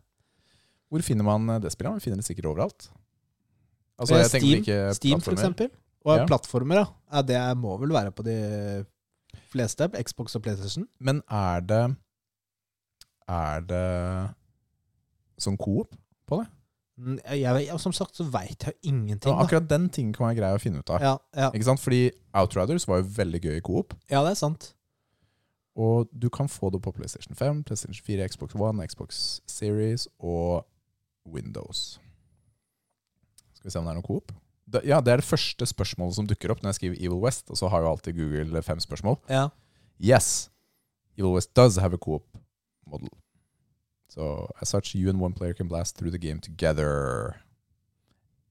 Speaker 2: Hvor finner man eh, det spillet? Man finner det sikkert overalt.
Speaker 1: Eh,
Speaker 2: Altså, jeg tenker
Speaker 1: Steam,
Speaker 2: ikke
Speaker 1: Steam for
Speaker 2: plattformer.
Speaker 1: eksempel. Og
Speaker 2: Ja.
Speaker 1: plattformer, da. Ja, det må vel være på de fleste. Xbox og PlayStation.
Speaker 2: Men er det Er det sånn coop?
Speaker 1: Mm, Jeg, jeg, som sagt så veit jeg jo ingenting.
Speaker 2: Ja,
Speaker 1: Da.
Speaker 2: akkurat den tingen kan være grei å finne ut av.
Speaker 1: Ja, ja.
Speaker 2: Ikke sant? Fordi Outriders var jo veldig gøy i coop.
Speaker 1: ja, det er sant.
Speaker 2: Og du kan få det på PlayStation 5, PlayStation 4, Xbox One, Xbox Series og Windows. Skal vi se om det er noe Coop? Det, ja, det er det første spørsmålet som dukker opp når jeg skriver Evil West, og så har jo alltid Google fem spørsmål.
Speaker 1: Ja.
Speaker 2: Yes, Evil West does have a Coop model. So, as such, you and one player can blast through the game together.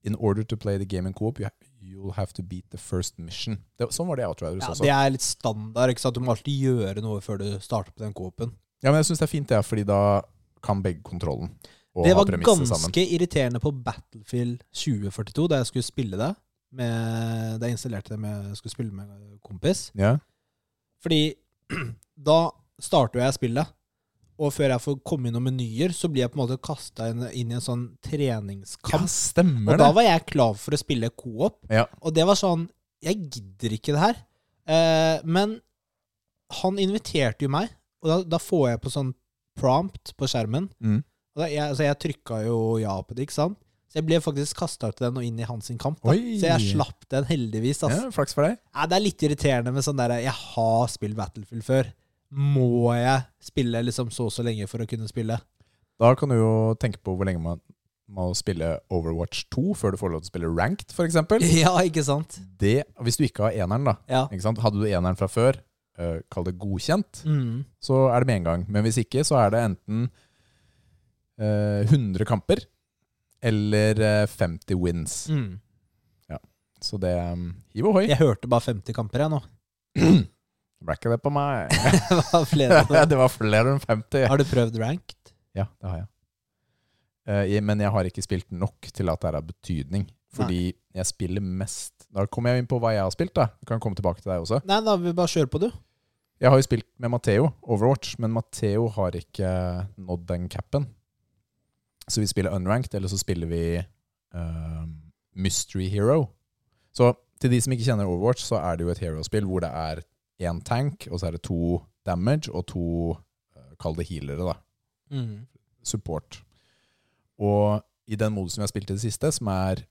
Speaker 2: In order to play the game in Coop, you ha- you'll have to beat the first mission. Det, sånn var det i Outriders
Speaker 1: Ja,
Speaker 2: også.
Speaker 1: det er litt standard. ikke sant? Du må alltid gjøre noe før du starter på den coop-en.
Speaker 2: Ja, men jeg syns det er fint, det, ja, fordi da kan begge kontrollen. Og
Speaker 1: Det
Speaker 2: ha
Speaker 1: var
Speaker 2: premisset
Speaker 1: ganske
Speaker 2: sammen.
Speaker 1: irriterende på Battlefield 2042, da jeg skulle spille det. Med, da jeg installerte det med, skulle spille med en kompis.
Speaker 2: Ja.
Speaker 1: Fordi da starter jo jeg spillet. Og før jeg får komme inn noen menyer, så blir jeg på en måte kasta inn, inn i en sånn
Speaker 2: ja,
Speaker 1: treningskamp.
Speaker 2: stemmer
Speaker 1: og da
Speaker 2: det.
Speaker 1: var jeg klar for å spille co-op.
Speaker 2: Ja.
Speaker 1: Og det var sånn Jeg gidder ikke det her. Eh, men han inviterte jo meg, og da, da får jeg på sånn prompt på skjermen.
Speaker 2: Mm.
Speaker 1: Og da, jeg, altså jeg trykka jo ja på det, ikke sant? Så jeg ble faktisk kasta ut i den og inn i hans sin kamp. Da.
Speaker 2: Oi.
Speaker 1: Så jeg slapp den heldigvis.
Speaker 2: Ja,
Speaker 1: Altså.
Speaker 2: flaks for deg.
Speaker 1: Nei, det er litt irriterende med sånn der Jeg har spilt Battlefield før. Må jeg spille liksom så og så lenge for å kunne spille?
Speaker 2: Da kan du jo tenke på hvor lenge man må spille Overwatch 2 før du får lov til å spille ranked, f.eks.
Speaker 1: Ja, ikke sant?
Speaker 2: Hvis du ikke har eneren, da.
Speaker 1: Ja.
Speaker 2: Ikke sant? Hadde du eneren fra før, eh, kall det godkjent,
Speaker 1: Mm.
Speaker 2: så er det med en gang. Men hvis ikke, så er det enten eh, 100 kamper eller eh, 50 wins.
Speaker 1: Mm.
Speaker 2: Så det um, Hiv ohoi.
Speaker 1: Jeg hørte bare 50 kamper, jeg nå.
Speaker 2: Ble ikke det på meg.
Speaker 1: Det var flere nå.
Speaker 2: det var flere enn 50.
Speaker 1: Har du prøvd ranked?
Speaker 2: Ja, det har jeg. Eh, jeg- men jeg har ikke spilt nok til at det er av betydning. Fordi jeg spiller mest Da kommer jeg inn på hva jeg har spilt. da Jeg kan komme tilbake til deg også.
Speaker 1: Nei, da vil vi bare kjøre på, du.
Speaker 2: Jeg har jo spilt med Matheo, Overwatch, men Matheo har ikke nådd den capen. Så vi spiller unranked, eller så spiller vi eh, Mystery Hero. Så til de som ikke kjenner Overwatch, så er det jo et hero-spill hvor det er én tank, og så er det to damage og to eh, Kall det healere, da.
Speaker 1: Mm.
Speaker 2: support. Og i den modusen vi har spilt i det siste, som er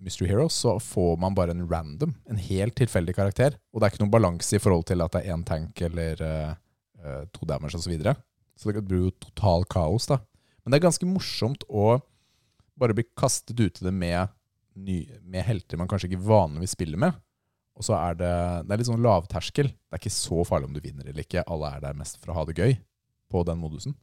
Speaker 2: Mystery Heroes, så får man bare en random, en helt tilfeldig karakter. Og det er ikke noen balanse i forhold til at det er én tank eller eh, eh, to damage osv. Så, videre. så det blir jo total kaos, da. Men det er ganske morsomt å bare bli kastet ut i det med, ny, med helter man kanskje ikke vanligvis spiller med. Og så er det, det er litt sånn lavterskel. Det er ikke så farlig om du vinner eller ikke. Alle er der mest for å ha det gøy på den modusen.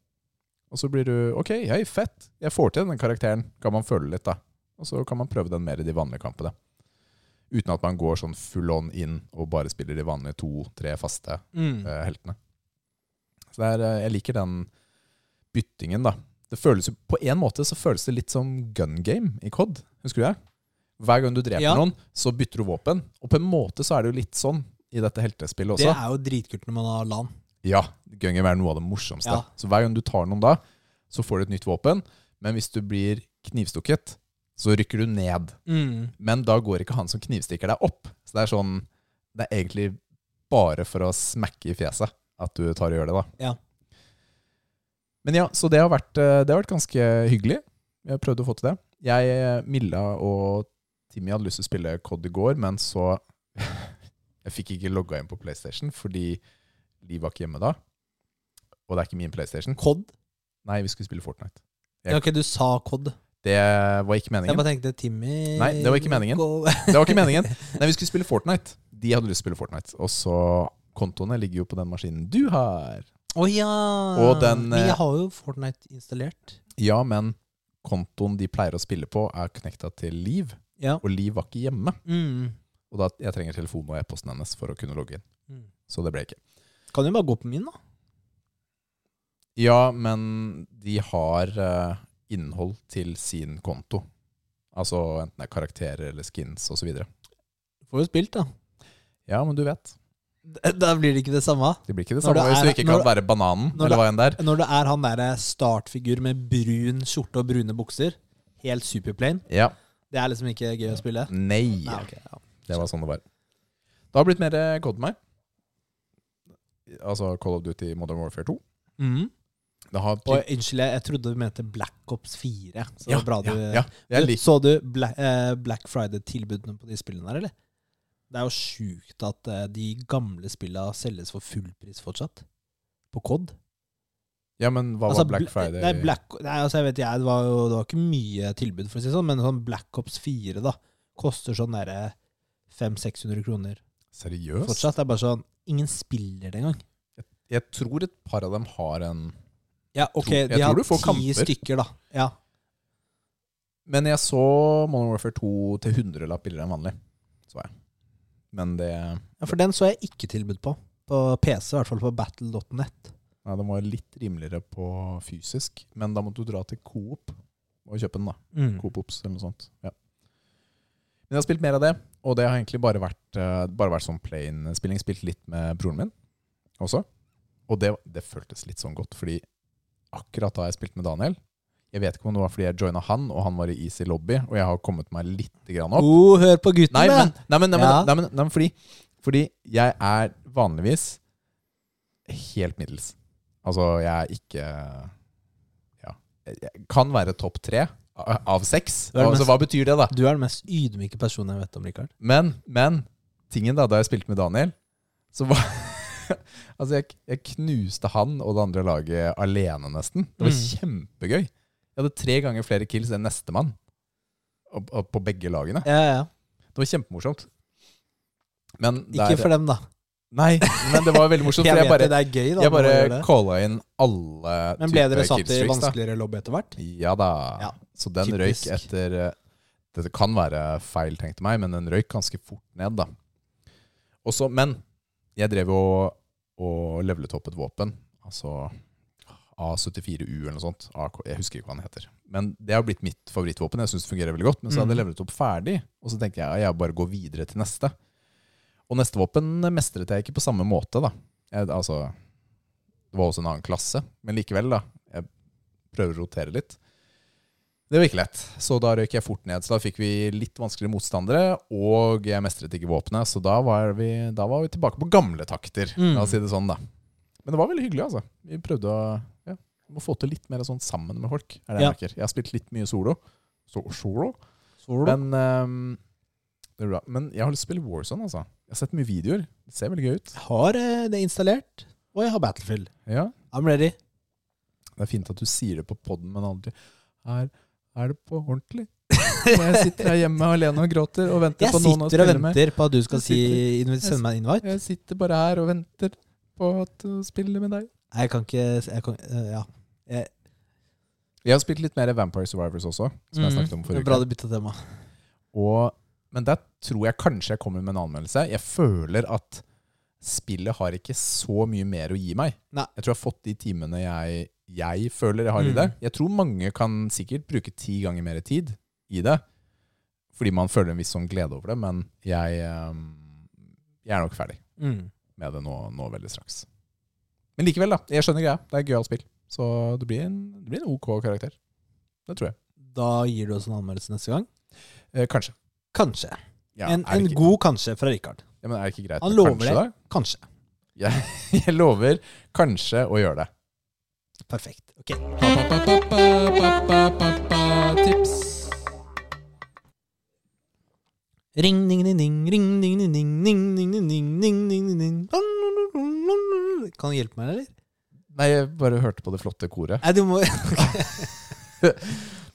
Speaker 2: Og så blir du OK, hei, fett. Jeg får til den karakteren. Kan man føle litt, da. Og så kan man prøve den mer i de vanlige kampene. Uten at man går sånn full on inn og bare spiller de vanlige to-tre faste
Speaker 1: Mm.
Speaker 2: eh, heltene. Så det er, eh, jeg liker den byttingen, da. Det føles jo, på en måte så føles det litt som gun game i COD. Husker du det? Hver gang du dreper
Speaker 1: Ja.
Speaker 2: noen, så bytter du våpen. Og på en måte så er det jo litt sånn i dette heltespillet også.
Speaker 1: Det er jo dritkult når man har LAN.
Speaker 2: Ja, gun game er noe av det morsomste.
Speaker 1: Ja.
Speaker 2: Så hver gang du tar noen da, så får du et nytt våpen. Men hvis du blir knivstukket, så rykker du ned.
Speaker 1: Mm.
Speaker 2: Men da går ikke han som knivstikker deg opp. Så det er sånn Det er egentlig bare for å smekke i fjeset at du tar og gjør det, da.
Speaker 1: Ja.
Speaker 2: Men ja, så det har vært, eh, det har vært ganske hyggelig. Vi har prøvd å få til det. Jeg, eh, Milla og Timmy hadde lyst til å spille COD i går, men så Jeg fikk ikke logga inn på PlayStation fordi Liv var ikke hjemme da. Og det er ikke min PlayStation.
Speaker 1: Cod?
Speaker 2: Nei, vi skulle spille Fortnite.
Speaker 1: Ja, ok, du sa Cod.
Speaker 2: Det var ikke
Speaker 1: Jeg
Speaker 2: meningen.
Speaker 1: bare tenkte Timmy
Speaker 2: Nei, det var ikke meningen.
Speaker 1: Go-
Speaker 2: Det var ikke meningen. Nei, vi skulle spille Fortnite. De hadde lyst til å spille Fortnite. Og så kontoene ligger jo på den maskinen du har.
Speaker 1: Å ja!
Speaker 2: Og den,
Speaker 1: Men
Speaker 2: eh,
Speaker 1: jeg har jo Fortnite installert.
Speaker 2: Ja, men kontoen de pleier å spille på, er knekta til Liv,
Speaker 1: Ja.
Speaker 2: og Liv var ikke hjemme.
Speaker 1: Mm.
Speaker 2: Og da jeg trenger telefonen og e-posten hennes for å kunne logge inn.
Speaker 1: Mm.
Speaker 2: Så det ble ikke.
Speaker 1: Kan jo bare gå på min, da.
Speaker 2: Ja, men de har eh, innhold til sin konto. Altså enten det er karakterer eller skins osv.
Speaker 1: Får jo spilt, da.
Speaker 2: Ja, men du vet.
Speaker 1: D- Da blir det ikke det samme.
Speaker 2: Det blir ikke det
Speaker 1: Når
Speaker 2: samme
Speaker 1: det
Speaker 2: hvis du
Speaker 1: er-
Speaker 2: ikke
Speaker 1: når
Speaker 2: kan være bananen,
Speaker 1: når
Speaker 2: eller hva enn det er.
Speaker 1: Når det er han derre startfigur med brun skjorte og brune bukser, helt superplain,
Speaker 2: Ja.
Speaker 1: det er liksom ikke gøy å spille.
Speaker 2: Nei.
Speaker 1: Nei, ok, ja.
Speaker 2: Det var sånn det var. Det har blitt mer eh, Cod meg. Altså Call of Duty Modern Warfare 2.
Speaker 1: Mhm.
Speaker 2: Det har
Speaker 1: Og unnskyld, jeg jeg trodde du mente Black Ops 4. Så det var bra du eh,
Speaker 2: ja, ja.
Speaker 1: Du,
Speaker 2: Jeg liker
Speaker 1: Så du Bla eh, Black Friday-tilbudene på de spillene der, eller? Det er jo sjukt at eh, de gamle spilla selges for full pris fortsatt. På COD.
Speaker 2: Ja, men hva
Speaker 1: Altså,
Speaker 2: var Black
Speaker 1: bl-
Speaker 2: Friday?
Speaker 1: Nei, Black, nei altså, jeg vet jeg, det var jo det var ikke mye tilbud, for å si det sånn, men sånn Black Ops 4 da, koster sånn derre 500-600 kroner.
Speaker 2: Seriøst?
Speaker 1: Fortsatt. Det er bare sånn Ingen spiller det engang.
Speaker 2: Jeg tror et par av dem har en
Speaker 1: Ja, ok,
Speaker 2: Tror- jeg
Speaker 1: de
Speaker 2: tror
Speaker 1: har
Speaker 2: du får
Speaker 1: ti
Speaker 2: kamper.
Speaker 1: stykker, da. Ja.
Speaker 2: Men jeg så Modern Warfare 2 til 100-lapp billigere enn vanlig. Så jeg. Men det
Speaker 1: ja, for den så jeg ikke tilbud på. På PC, i hvert fall på battle.net.
Speaker 2: Nei, den var litt rimeligere på fysisk. Men da måtte du dra til Coop og kjøpe den, da.
Speaker 1: Mm.
Speaker 2: Coop Ops eller noe sånt. Ja. Men jeg har spilt mer av det, og det har egentlig bare vært, eh, bare vært sånn plain-spilling. Spilt litt med broren min også. Og det, det føltes litt sånn godt, fordi akkurat da jeg spilte med Daniel Jeg vet ikke om det var fordi jeg joina han, og han var i Easy Lobby, og jeg har kommet meg litt grann opp.
Speaker 1: Oh, hør på gutten,
Speaker 2: Nei,
Speaker 1: da!
Speaker 2: men, nei, men, nei, men,
Speaker 1: Ja.
Speaker 2: nei, men, nei, men fordi, fordi jeg er vanligvis helt middels. Altså, jeg er ikke Ja. Jeg kan være topp tre av av seks.
Speaker 1: Du er den
Speaker 2: Altså,
Speaker 1: mest-
Speaker 2: hva betyr det, da?
Speaker 1: Du er den mest ydmyke personen jeg vet om, Rikard.
Speaker 2: Men, men tingen da, da jeg spilte med Daniel, så var Altså, jeg, jeg knuste han og det andre laget alene, nesten. Det var
Speaker 1: Mm.
Speaker 2: kjempegøy. Jeg hadde tre ganger flere kills enn nestemann Og- og på begge lagene.
Speaker 1: Ja, ja.
Speaker 2: Det var kjempemorsomt. Men
Speaker 1: Ikke
Speaker 2: der-
Speaker 1: for dem, da.
Speaker 2: Nei, men det var veldig morsomt. For jeg bare,
Speaker 1: det er gøy, da. når
Speaker 2: jeg
Speaker 1: man
Speaker 2: bare
Speaker 1: gjør det.
Speaker 2: calla inn alle
Speaker 1: Men ble dere
Speaker 2: typer
Speaker 1: satt i
Speaker 2: killstreaks, da.
Speaker 1: vanskeligere lobby etter hvert?
Speaker 2: Ja da.
Speaker 1: Ja,
Speaker 2: Så den
Speaker 1: typisk.
Speaker 2: røyk etter eh, Dette kan være feil, tenkte meg, men den røyk ganske fort ned, da. Også, men jeg drev jo og levelet opp et våpen. Altså A74U eller noe sånt. AK, jeg husker ikke hva den heter. Men det har blitt mitt favorittvåpen. Jeg syns det fungerer veldig godt. Men
Speaker 1: Mm.
Speaker 2: så hadde jeg levelet opp ferdig, og så tenkte jeg ja, jeg bare går videre til neste. Og neste våpen mestret jeg ikke på samme måte, da. Jeg, altså, det var også en annen klasse, men likevel, da. Jeg prøver å rotere litt. Det var ikke lett, så da røyk jeg fort ned. Så da fikk vi litt vanskeligere motstandere, og jeg mestret ikke våpenet, så da var vi, da var vi tilbake på gamle takter,
Speaker 1: Mm.
Speaker 2: la oss si det sånn, da. Men det var veldig hyggelig, altså. Vi prøvde å ja, vi må få til litt mer sånn sammen med folk, er det jeg
Speaker 1: Ja.
Speaker 2: merker. Jeg har spilt litt mye solo. So solo?
Speaker 1: Så du?
Speaker 2: Men, ehm, det er bra. men jeg har lyst til å spille Warzone, altså. Jeg har sett mye videoer. Det ser veldig gøy ut.
Speaker 1: Jeg har eh, det installert, og jeg har Battlefield.
Speaker 2: Ja.
Speaker 1: I'm ready.
Speaker 2: Det er fint at du sier det på podden, men aldri er, er det på ordentlig. Og jeg sitter her hjemme alene og gråter og venter
Speaker 1: Jeg
Speaker 2: på noen å
Speaker 1: sitter og
Speaker 2: spille med.
Speaker 1: venter på at du skal
Speaker 2: Jeg
Speaker 1: si, sende meg en invite.
Speaker 2: Jeg sitter bare her og venter på at du spiller med deg.
Speaker 1: Nei, Jeg kan ikke jeg kan, eh, Ja. Jeg,
Speaker 2: Jeg har spilt litt mer Vampire Survivors også, som jeg snakket
Speaker 1: Mm,
Speaker 2: om
Speaker 1: det er
Speaker 2: forrige
Speaker 1: Bra
Speaker 2: uke.
Speaker 1: du bytta tema.
Speaker 2: Og, men der tror jeg kanskje jeg kommer med en anmeldelse. Jeg føler at spillet har ikke så mye mer å gi meg.
Speaker 1: Nei.
Speaker 2: Jeg tror jeg har fått de timene jeg, jeg føler jeg har i
Speaker 1: Mm.
Speaker 2: det. Jeg tror mange kan sikkert bruke ti ganger mer tid i det, fordi man føler en viss sånn glede over det, men jeg, eh, jeg er nok ferdig
Speaker 1: Mm.
Speaker 2: med det nå, nå veldig straks. Men likevel, da. Jeg skjønner greia. Det er et gøyalt spill. Så det blir, en, det blir en OK karakter. Det tror jeg.
Speaker 1: Da gir du oss en anmeldelse neste gang.
Speaker 2: Eh, kanskje.
Speaker 1: Kanskje.
Speaker 2: Ja,
Speaker 1: en
Speaker 2: er det
Speaker 1: en
Speaker 2: ikke-
Speaker 1: god kanskje fra Rikard.
Speaker 2: ja, men er det ikke greit
Speaker 1: Han
Speaker 2: med
Speaker 1: lover
Speaker 2: kanskje,
Speaker 1: det.
Speaker 2: da?
Speaker 1: Kanskje.
Speaker 2: Jeg lover kanskje å gjøre det.
Speaker 1: Perfekt. Ok.
Speaker 2: Tips.
Speaker 1: Ring, ding, ding, ding, ring, ding, ding, ding, ding, ding, ding, ding, ding, ding, ding, ding. Dun, dun, dun, dun, dun. Kan du hjelpe meg, eller?
Speaker 2: Nei, jeg bare hørte på det flotte koret.
Speaker 1: Nei, du må Det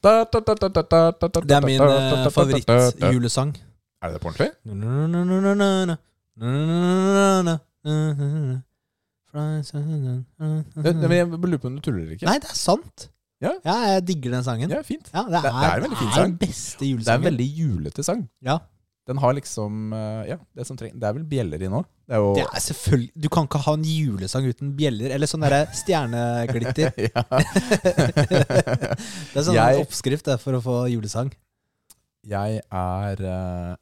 Speaker 2: Det
Speaker 1: er min eh, favorittjulesang.
Speaker 2: Er det på ordentlig? Jeg, Mm-hmm. jeg, jeg lurer på om du tuller eller ikke.
Speaker 1: Nei, det er sant.
Speaker 2: Ja.
Speaker 1: jeg digger den sangen. Ja,
Speaker 2: Ja, fint.
Speaker 1: det, er,
Speaker 2: det er en veldig fin sang.
Speaker 1: den beste
Speaker 2: Det er en
Speaker 1: julesangen.
Speaker 2: veldig julete sang.
Speaker 1: Ja.
Speaker 2: Den har liksom eh, Ja, det som trenger Det er vel bjeller i nå? Det er jo
Speaker 1: Det er selvfølgelig Du kan ikke ha en julesang uten bjeller eller sånn derre stjerneglitter.
Speaker 2: Ja.
Speaker 1: Det er sånn
Speaker 2: Jeg-
Speaker 1: oppskrift det, for å få julesang.
Speaker 2: Jeg er eh,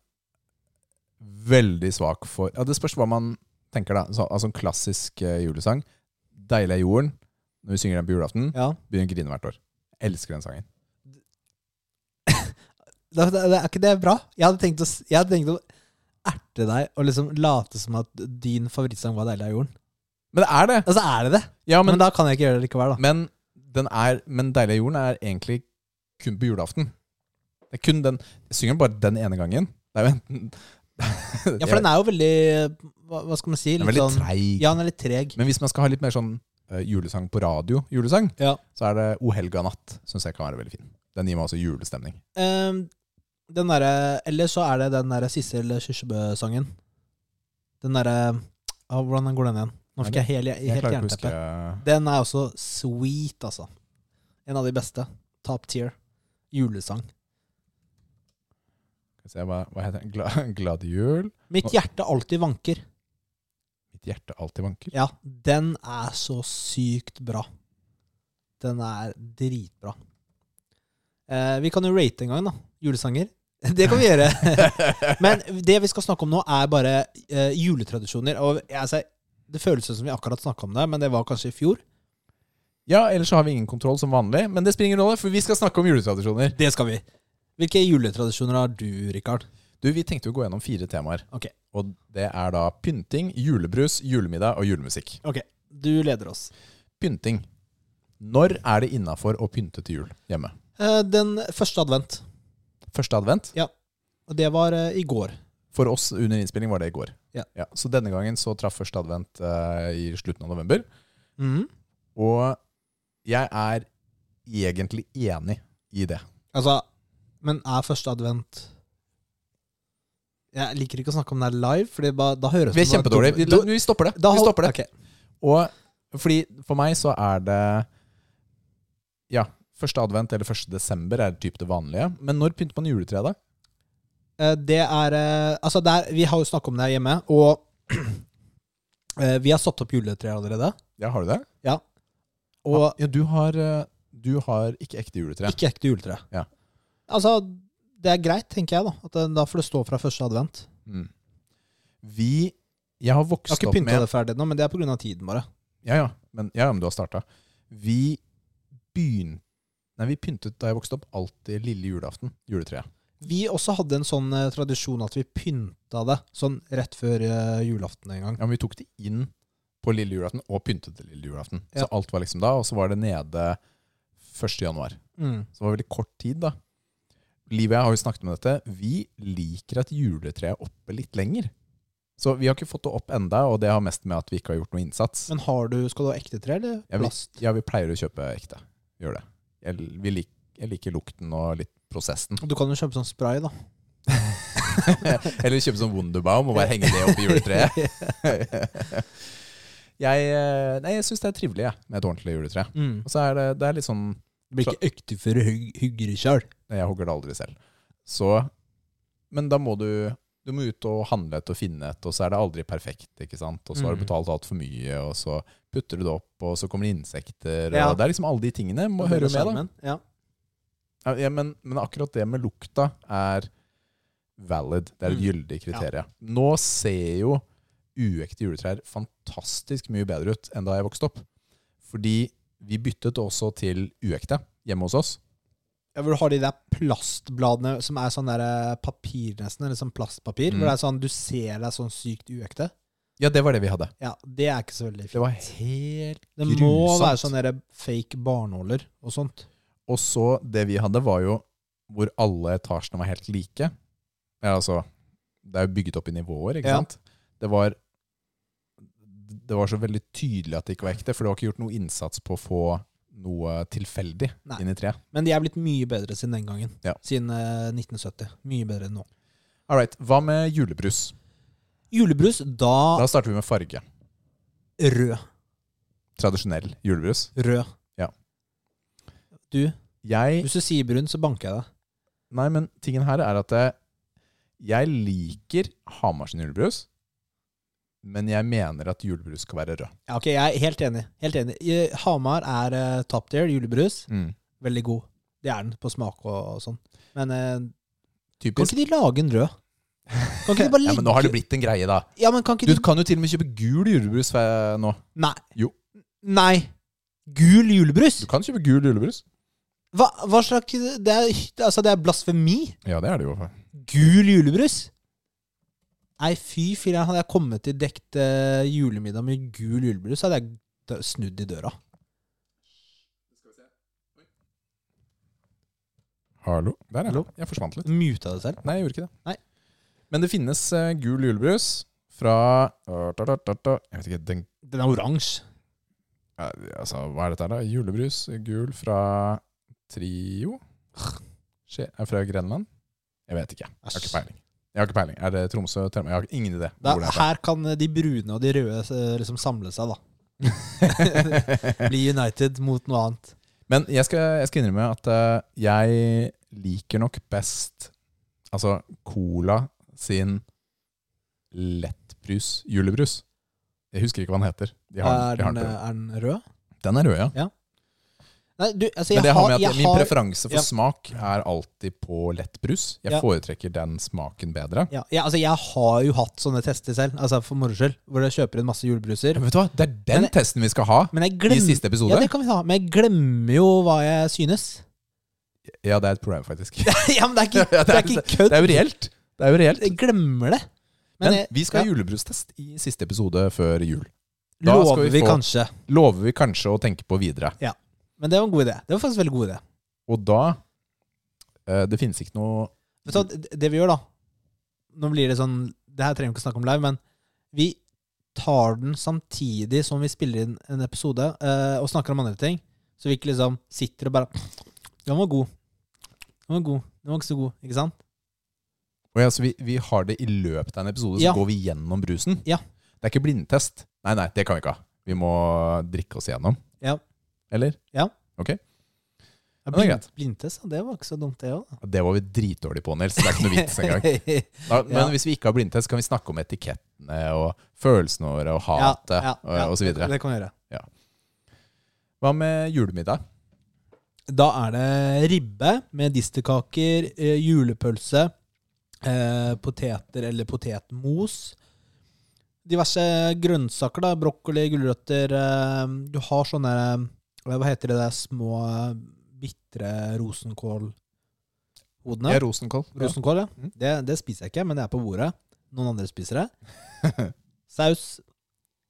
Speaker 2: veldig svak for ja, Det spørs hva man tenker, da. Så, altså en klassisk eh, julesang. 'Deilig er jorden', når vi synger den på julaften,
Speaker 1: Ja.
Speaker 2: begynner å grine hvert år. Jeg elsker den sangen.
Speaker 1: Da, da, da, er ikke det bra? Jeg hadde tenkt å, s- jeg hadde tenkt å erte deg og liksom late som at din favorittsang var 'Deilig av jorden'.
Speaker 2: Men det er det!
Speaker 1: Altså, er det det?
Speaker 2: Ja,
Speaker 1: Men,
Speaker 2: men,
Speaker 1: da kan jeg ikke gjøre det likevel, da.
Speaker 2: men, den er, men 'Deilig er jorden' er egentlig kun på julaften. Det er kun den Jeg synger den bare den ene gangen. Det er jo enten
Speaker 1: Ja, For den er jo veldig Hva, hva skal man si?
Speaker 2: Den
Speaker 1: Litt
Speaker 2: er veldig
Speaker 1: sånn,
Speaker 2: treig.
Speaker 1: Ja, den er litt treg.
Speaker 2: Men hvis man skal ha litt mer sånn eh, julesang på radio, julesang,
Speaker 1: Ja.
Speaker 2: så er det O helga natt, syns jeg kan være veldig fin. Den gir meg også julestemning.
Speaker 1: Ehm, den derre Eller så er det den derre Sissel Kyrkjebø-sangen. Den derre ah, Hvordan går den igjen? Nå fikk jeg hel-
Speaker 2: Jeg
Speaker 1: helt
Speaker 2: klarer ikke å huske eh,
Speaker 1: jernteppe. Den er også sweet, altså. En av de beste. Top tier. Julesang.
Speaker 2: Skal vi se, hva, hva heter den? Gla, glad jul.
Speaker 1: Mitt hjerte alltid vanker.
Speaker 2: Mitt hjerte alltid vanker.
Speaker 1: Ja, den er så sykt bra. Den er dritbra. Eh, vi kan jo rate en gang, da. Julesanger. Det kan vi gjøre. Men det vi skal snakke om nå, er bare eh, juletradisjoner. Og jeg- altså, det føles som vi akkurat snakka om det, men det var kanskje i fjor.
Speaker 2: Ja, ellers så har vi ingen kontroll som vanlig, men det springer ingen rolle, for vi skal snakke om juletradisjoner.
Speaker 1: Det skal vi. Hvilke juletradisjoner har du, Rikard?
Speaker 2: Du, Vi tenkte jo å gå gjennom fire temaer.
Speaker 1: Ok.
Speaker 2: Og det er da pynting, julebrus, julemiddag og julemusikk.
Speaker 1: Ok, du leder oss.
Speaker 2: Pynting. Når er det innafor å pynte til jul hjemme?
Speaker 1: Eh, den første advent.
Speaker 2: Første advent?
Speaker 1: Og det var eh, i går.
Speaker 2: For oss under innspilling var det i går.
Speaker 1: Ja.
Speaker 2: så denne gangen så traff første advent eh, i slutten av november.
Speaker 1: Mhm.
Speaker 2: Og jeg er egentlig enig i det.
Speaker 1: Altså, men er første advent Jeg liker ikke å snakke om det her live, for da høres
Speaker 2: Vi er
Speaker 1: som det
Speaker 2: kjempedårlige. Vi,
Speaker 1: Da-
Speaker 2: vi stopper det.
Speaker 1: da
Speaker 2: vi
Speaker 1: hold-
Speaker 2: stopper det.
Speaker 1: ok.
Speaker 2: Og fordi for meg så er det Ja, første advent eller første desember er typ det vanlige. Men når pynter man juletreet, da?
Speaker 1: Eh, Det er eh, Altså, det er- vi har jo snakket om det her hjemme, og eh, vi har satt opp juletreet allerede.
Speaker 2: Ja, har du det?
Speaker 1: Ja.
Speaker 2: Og
Speaker 1: Og
Speaker 2: ja, du, har, eh, du har ikke ekte juletre.
Speaker 1: ikke ekte juletre.
Speaker 2: Ja.
Speaker 1: Altså, det er greit, tenker jeg, da. At det, da får det stå fra første advent.
Speaker 2: Mm. Vi
Speaker 1: Jeg
Speaker 2: Jeg har
Speaker 1: har
Speaker 2: vokst
Speaker 1: ikke
Speaker 2: opp med
Speaker 1: pynta det ferdig nå, men det er pga. tiden, bare.
Speaker 2: Ja, ja. Men, ja, ja, men du har starta. Vi begynte Nei, vi pyntet da jeg vokste opp, alltid lille julaften. Juletreet.
Speaker 1: Vi også hadde en sånn eh, tradisjon at vi pynta det sånn rett før eh, julaften en gang.
Speaker 2: Ja, men vi tok det inn på lille julaften, og pyntet det lille julaften.
Speaker 1: Ja.
Speaker 2: Så alt var liksom da, og så var det nede 1. januar.
Speaker 1: Mm.
Speaker 2: Så det var veldig kort tid, da. Liv og jeg har jo snakket om dette. Vi liker at juletreet er oppe litt lenger. Så vi har ikke fått det opp enda, og det har mest med at vi ikke har gjort noe innsats.
Speaker 1: Men har du, skal du ha ekte tre eller
Speaker 2: Ja, vi-
Speaker 1: plast?
Speaker 2: Ja, vi pleier å kjøpe ekte. Vi Gjør det. Jeg, vi lik, jeg liker lukten og litt prosessen.
Speaker 1: Du kan jo kjøpe sånn spray, da.
Speaker 2: Eller kjøpe sånn Wunderbaum og bare henge det opp i juletreet. jeg eh, nei, jeg syns det er trivelig jeg, med et ordentlig juletre.
Speaker 1: Mm.
Speaker 2: Og så er det, det er litt sånn
Speaker 1: Det blir ikke økte før du hugg- hugger sjøl.
Speaker 2: nei, Jeg hogger det aldri selv. Så, men da må du du må ut og handle et og finne et, og så er det aldri perfekt. ikke sant? Og så har du
Speaker 1: Mm.
Speaker 2: betalt altfor mye, og så putter du det opp, og så kommer det insekter.
Speaker 1: Ja.
Speaker 2: og Det er liksom alle de tingene. Må høre med, da.
Speaker 1: Ja.
Speaker 2: Ja, Ja, men, men akkurat det med lukta er valid. Det er et
Speaker 1: Mm.
Speaker 2: gyldig kriterium. Nå ser jo uekte juletrær fantastisk mye bedre ut enn da jeg vokste opp. Fordi vi byttet også til uekte hjemme hos oss.
Speaker 1: Ja, hvor du har de der plastbladene som er sånn der eh, papir, nesten, eller sånn plastpapir.
Speaker 2: Mm.
Speaker 1: Hvor det er sånn, du ser deg sånn sykt uekte.
Speaker 2: Ja, det var det vi hadde.
Speaker 1: Ja, Det er ikke så veldig
Speaker 2: Det var
Speaker 1: fint.
Speaker 2: helt
Speaker 1: Det
Speaker 2: grusomt.
Speaker 1: må være sånne der fake barnåler og sånt.
Speaker 2: Og så det vi hadde var jo hvor alle etasjene var helt like. Ja, altså, det er jo bygget opp i nivåer, ikke
Speaker 1: Ja.
Speaker 2: sant? Det var, det var så veldig tydelig at det ikke var ekte, for det var ikke gjort noe innsats på å få noe tilfeldig
Speaker 1: Nei.
Speaker 2: inn i treet.
Speaker 1: Men de er blitt mye bedre siden den gangen.
Speaker 2: Ja.
Speaker 1: Siden eh, 1970. Mye bedre enn nå.
Speaker 2: All right, hva med julebrus?
Speaker 1: Julebrus, da
Speaker 2: Da starter vi med farge.
Speaker 1: rød.
Speaker 2: Tradisjonell julebrus.
Speaker 1: Rød.
Speaker 2: Ja.
Speaker 1: Du,
Speaker 2: Jeg
Speaker 1: hvis du sier brun, så banker jeg deg.
Speaker 2: Nei, men tingen her er at jeg, jeg liker Hamarsen julebrus, men jeg mener at julebrus skal være rød.
Speaker 1: Ja, ok, jeg er helt enig. Helt enig. Eh, Hamar er eh, top tier julebrus. Veldig god. Det er den på smak og, og sånn. Men eh, kan
Speaker 2: Typisk.
Speaker 1: ikke de lage en rød? Kan ikke de bare
Speaker 2: Ja,
Speaker 1: legge
Speaker 2: men nå har det blitt en greie, da.
Speaker 1: Ja, men kan ikke
Speaker 2: Du
Speaker 1: de
Speaker 2: kan jo til og med kjøpe gul julebrus eh, nå.
Speaker 1: Nei.
Speaker 2: Jo.
Speaker 1: Nei. Gul julebrus?
Speaker 2: Du kan kjøpe gul julebrus.
Speaker 1: Hva, hva slags det er, altså, det er blasfemi.
Speaker 2: Ja, det er det jo.
Speaker 1: Gul julebrus? Nei, fy filler'n. Hadde jeg kommet til dekt eh, julemiddag med gul julebrus, hadde jeg d- snudd i døra.
Speaker 2: Hallo. Der, ja.
Speaker 1: Hallo.
Speaker 2: Jeg forsvant litt.
Speaker 1: Muta det selv.
Speaker 2: Nei, jeg gjorde ikke det.
Speaker 1: Nei.
Speaker 2: Men det finnes eh, gul julebrus fra Jeg vet ikke den,
Speaker 1: Den er oransje.
Speaker 2: eh, altså, Hva er dette her, da? Julebrus gul fra Trio? Skje, er fra Grenland? Jeg vet ikke. Jeg har ikke peiling. Jeg har ikke peiling. Er det Tromsø Telemark? Jeg har ingen idé.
Speaker 1: Da,
Speaker 2: hvor det er fra.
Speaker 1: her kan eh, de brune og de røde eh, liksom samle seg, da. Bli United mot noe annet.
Speaker 2: Men jeg skal, jeg skal innrømme at eh, jeg liker nok best Altså Cola sin lettbrus, julebrus. Jeg husker ikke hva den heter. De har,
Speaker 1: er,
Speaker 2: de har
Speaker 1: den,
Speaker 2: den,
Speaker 1: eh, er den rød?
Speaker 2: på- den er rød, ja.
Speaker 1: Nei, du, altså,
Speaker 2: Men
Speaker 1: jeg
Speaker 2: det har
Speaker 1: har,
Speaker 2: med at
Speaker 1: jeg
Speaker 2: min
Speaker 1: har,
Speaker 2: preferanse for
Speaker 1: ja.
Speaker 2: smak er alltid på lettbrus. Jeg
Speaker 1: Ja.
Speaker 2: foretrekker den smaken bedre.
Speaker 1: ja, ja, altså, jeg har jo hatt sånne tester selv, altså for moro skyld, hvor jeg kjøper en masse julebruser.
Speaker 2: Men vet du hva? Det er den
Speaker 1: Men jeg-
Speaker 2: testen vi skal ha
Speaker 1: Men jeg
Speaker 2: i
Speaker 1: glemmer
Speaker 2: siste episode.
Speaker 1: Ja,
Speaker 2: Ja,
Speaker 1: det kan vi ta. Men jeg glemmer jo hva jeg synes.
Speaker 2: det, er et problem, faktisk.
Speaker 1: ja, men det er ikke,
Speaker 2: Ja,
Speaker 1: det er ikke kødd.
Speaker 2: Det er jo reelt. Det er jo reelt.
Speaker 1: Jeg glemmer det.
Speaker 2: Men
Speaker 1: jeg-
Speaker 2: vi skal ha
Speaker 1: ja,
Speaker 2: julebrustest i siste episode før jul. da skal
Speaker 1: Lover
Speaker 2: vi
Speaker 1: vi
Speaker 2: få-
Speaker 1: kanskje.
Speaker 2: Lover vi kanskje å tenke på videre.
Speaker 1: Men det var en god idé. Det var faktisk en veldig god idé.
Speaker 2: Og da eh, Det finnes ikke noe
Speaker 1: Vet du hva, det- det vi gjør, da Nå blir det sånn Det her trenger vi ikke snakke om live, men vi tar den samtidig som vi spiller inn en episode eh, og snakker om andre ting. Så vi ikke liksom sitter og bare Den var god. Den var god. Den var ikke så god. Ikke sant?
Speaker 2: Å ja, så vi, vi har det i løpet av en episode, så
Speaker 1: Ja.
Speaker 2: går vi gjennom brusen.
Speaker 1: Ja.
Speaker 2: Det er ikke blindtest. Nei, nei, det kan vi ikke ha. Vi må drikke oss gjennom.
Speaker 1: Ja.
Speaker 2: Eller?
Speaker 1: Ja,
Speaker 2: Ja, det er
Speaker 1: blind, blindtest, ja, det var ikke så dumt, det òg.
Speaker 2: Det var vi dritdårlige på, Nils. Det er ikke noe vits engang. Da, men
Speaker 1: Ja.
Speaker 2: hvis vi ikke har blindtest, kan vi snakke om etikettene og følelsene våre og hatet og, og så videre.
Speaker 1: Det kan vi gjøre.
Speaker 2: Hva med julemiddag?
Speaker 1: Da er det ribbe med disterkaker, eh, julepølse, eh, poteter eller potetmos. Diverse grønnsaker, da. Brokkoli, gulrøtter. Eh, du har sånne eh, Hva heter det der små, eh, bitre rosenkålhodene?
Speaker 2: Ja, rosenkål. Ja.
Speaker 1: Rosenkål, ja.
Speaker 2: Mm.
Speaker 1: Det, det spiser jeg ikke, men det er på bordet. Noen andre spiser det. Saus.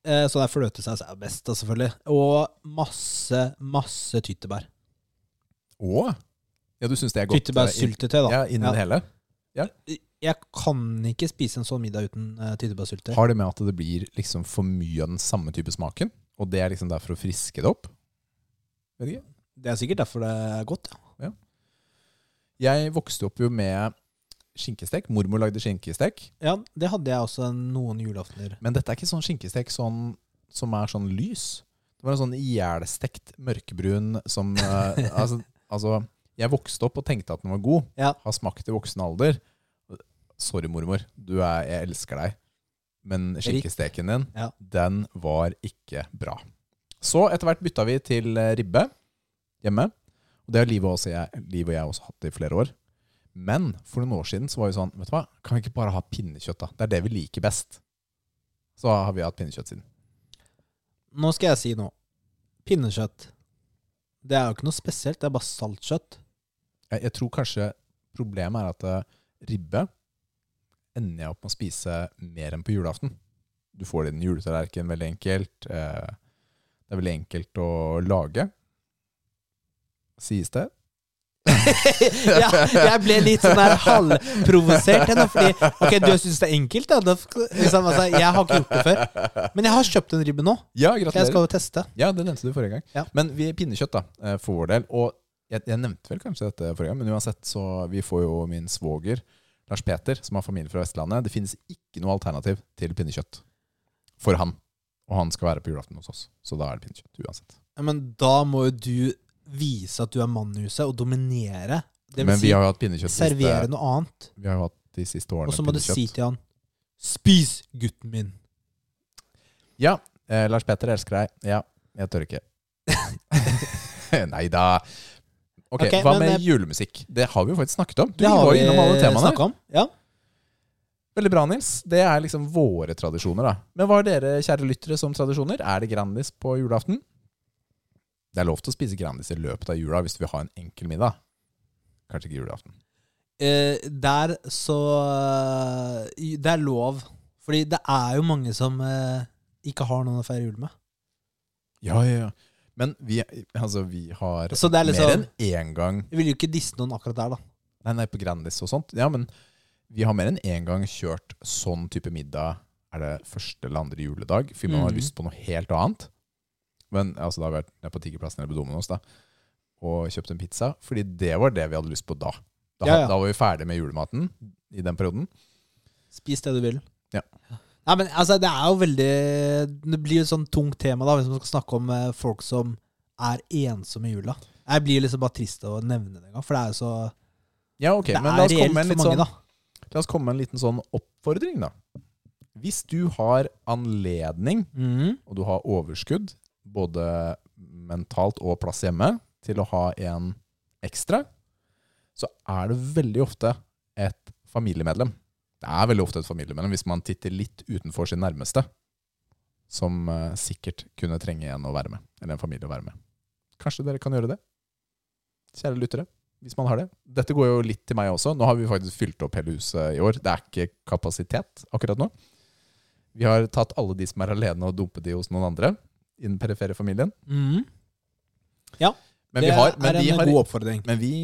Speaker 1: Eh, så det er fløtesaus er best, da, selvfølgelig. Og masse, masse tyttebær.
Speaker 2: Å! Ja, du syns det er godt? eh, inn-
Speaker 1: Tyttebærsyltetøy, da.
Speaker 2: Ja, innen
Speaker 1: Ja.
Speaker 2: det hele?
Speaker 1: Jeg kan ikke spise en sånn middag uten uh, tyttebærsyltetøy.
Speaker 2: Har det med at det blir liksom for mye av den samme type smaken? Og det er liksom der for å friske det opp? Vet ikke.
Speaker 1: Det er sikkert derfor det er godt. Ja.
Speaker 2: Jeg vokste opp jo med skinkestek. Mormor lagde skinkestek.
Speaker 1: ja, det hadde jeg også noen julaftener.
Speaker 2: Men dette er ikke sånn skinkestek sånn, som er sånn lys. Det var en sånn ihjelstekt mørkebrun som eh, altså, altså, jeg vokste opp og tenkte at den var god.
Speaker 1: Ja.
Speaker 2: Har smakt i voksen alder. Sorry, mormor. Du er, jeg elsker deg. Men skinkesteken din,
Speaker 1: Ja.
Speaker 2: den var ikke bra. Så etter hvert bytta vi til eh, ribbe hjemme. Og det har Liv og, også jeg, Liv og jeg også hatt i flere år. Men for noen år siden så var vi sånn Vet du hva, kan vi ikke bare ha pinnekjøtt, da? Det er det vi liker best. Så har vi hatt pinnekjøtt siden.
Speaker 1: Nå skal jeg si noe. Pinnekjøtt. Det er jo ikke noe spesielt, det er bare saltkjøtt.
Speaker 2: Jeg, jeg tror kanskje problemet er at eh, ribbe ender jeg opp med å spise mer enn på julaften. Du får det i en juletallerken veldig enkelt. eh, Det er veldig enkelt å lage, sies det.
Speaker 1: ja, jeg ble litt sånn der halvprovosert. jeg nå, Fordi Ok, du syns det er enkelt, da. da f- Liksom, altså, jeg har ikke gjort det før. Men jeg har kjøpt en ribbe nå.
Speaker 2: Ja,
Speaker 1: Jeg
Speaker 2: gratulerer.
Speaker 1: skal jo teste.
Speaker 2: Ja, det nevnte du forrige gang.
Speaker 1: Ja.
Speaker 2: Men vi pinnekjøtt, da, eh, for vår del. Og jeg, jeg nevnte vel kanskje dette forrige gang, men uansett så vi får jo min svoger, Lars Peter, som har familie fra Vestlandet. Det finnes ikke noe alternativ til pinnekjøtt for han. Og han skal være på julaften hos oss, så da er det pinnekjøtt uansett.
Speaker 1: Ja, Men da må jo du vise at du er mann i huset, og dominere. Det
Speaker 2: men
Speaker 1: vil
Speaker 2: vi
Speaker 1: si,
Speaker 2: har jo hatt pinnekjøtt de
Speaker 1: servere
Speaker 2: siste,
Speaker 1: noe annet.
Speaker 2: vi har jo hatt de siste årene.
Speaker 1: Og så må du
Speaker 2: pinnekjøtt.
Speaker 1: si til han Spis, gutten min.
Speaker 2: Ja, eh, Lars Petter jeg elsker deg. Ja, jeg tør ikke. Nei da. Ok,
Speaker 1: Ok,
Speaker 2: hva
Speaker 1: men,
Speaker 2: med
Speaker 1: eh,
Speaker 2: julemusikk? Det har vi jo faktisk snakket om. Du var jo innom alle temaene.
Speaker 1: snakket om. Ja.
Speaker 2: Veldig bra, Nils. Det er liksom våre tradisjoner, da. Men hva har dere, kjære lyttere, som tradisjoner? Er det Grandis på julaften? Det er lov til å spise Grandis i løpet av jula hvis du vil ha en enkel middag. Kanskje ikke julaften.
Speaker 1: Eh, der så eh, Det er lov. Fordi det er jo mange som eh, ikke har noen å feire jul med.
Speaker 2: Ja, ja, ja. Men vi, altså, vi har
Speaker 1: Så det er
Speaker 2: mer
Speaker 1: liksom
Speaker 2: enn én gang
Speaker 1: Jeg vil jo ikke disse noen akkurat der, da.
Speaker 2: Nei, nei, på Grandis og sånt. Ja, men vi har mer enn én gang kjørt sånn type middag Er det første eller andre juledag? Fordi man har
Speaker 1: Mhm.
Speaker 2: lyst på noe helt annet. Men altså, da har vi vært nede på Tigerplassen eller på Domino's da, og kjøpt en pizza. Fordi det var det vi hadde lyst på da. Da,
Speaker 1: Ja, ja.
Speaker 2: da var vi ferdig med julematen i den perioden.
Speaker 1: Spis det du vil.
Speaker 2: Ja.
Speaker 1: Nei, men altså, det er jo veldig Det blir jo et sånn tungt tema da hvis man skal snakke om eh, folk som er ensomme i jula. Jeg blir liksom bare trist av å nevne det engang, for det er jo så
Speaker 2: Ja, ok,
Speaker 1: Det
Speaker 2: men la
Speaker 1: er
Speaker 2: oss, komme
Speaker 1: reelt
Speaker 2: med en
Speaker 1: for
Speaker 2: litt
Speaker 1: mange,
Speaker 2: sånn,
Speaker 1: da.
Speaker 2: la oss komme med en liten sånn oppfordring, da. Hvis du har anledning
Speaker 1: Mhm.
Speaker 2: og du har overskudd, både mentalt og plass hjemme, til å ha en ekstra, så er det veldig ofte et familiemedlem. Det er veldig ofte et familiemedlem hvis man titter litt utenfor sin nærmeste, som eh, sikkert kunne trenge en å være med, eller en familie å være med. Kanskje dere kan gjøre det? Kjære lyttere, hvis man har det. Dette går jo litt til meg også. Nå har vi faktisk fylt opp hele huset i år. Det er ikke kapasitet akkurat nå. Vi har tatt alle de som er alene og dumpet de hos noen andre i den perifere familien.
Speaker 1: Mhm.
Speaker 2: Men,
Speaker 1: det
Speaker 2: vi har, men,
Speaker 1: er
Speaker 2: vi
Speaker 1: en
Speaker 2: har,
Speaker 1: god oppfordring.
Speaker 2: men vi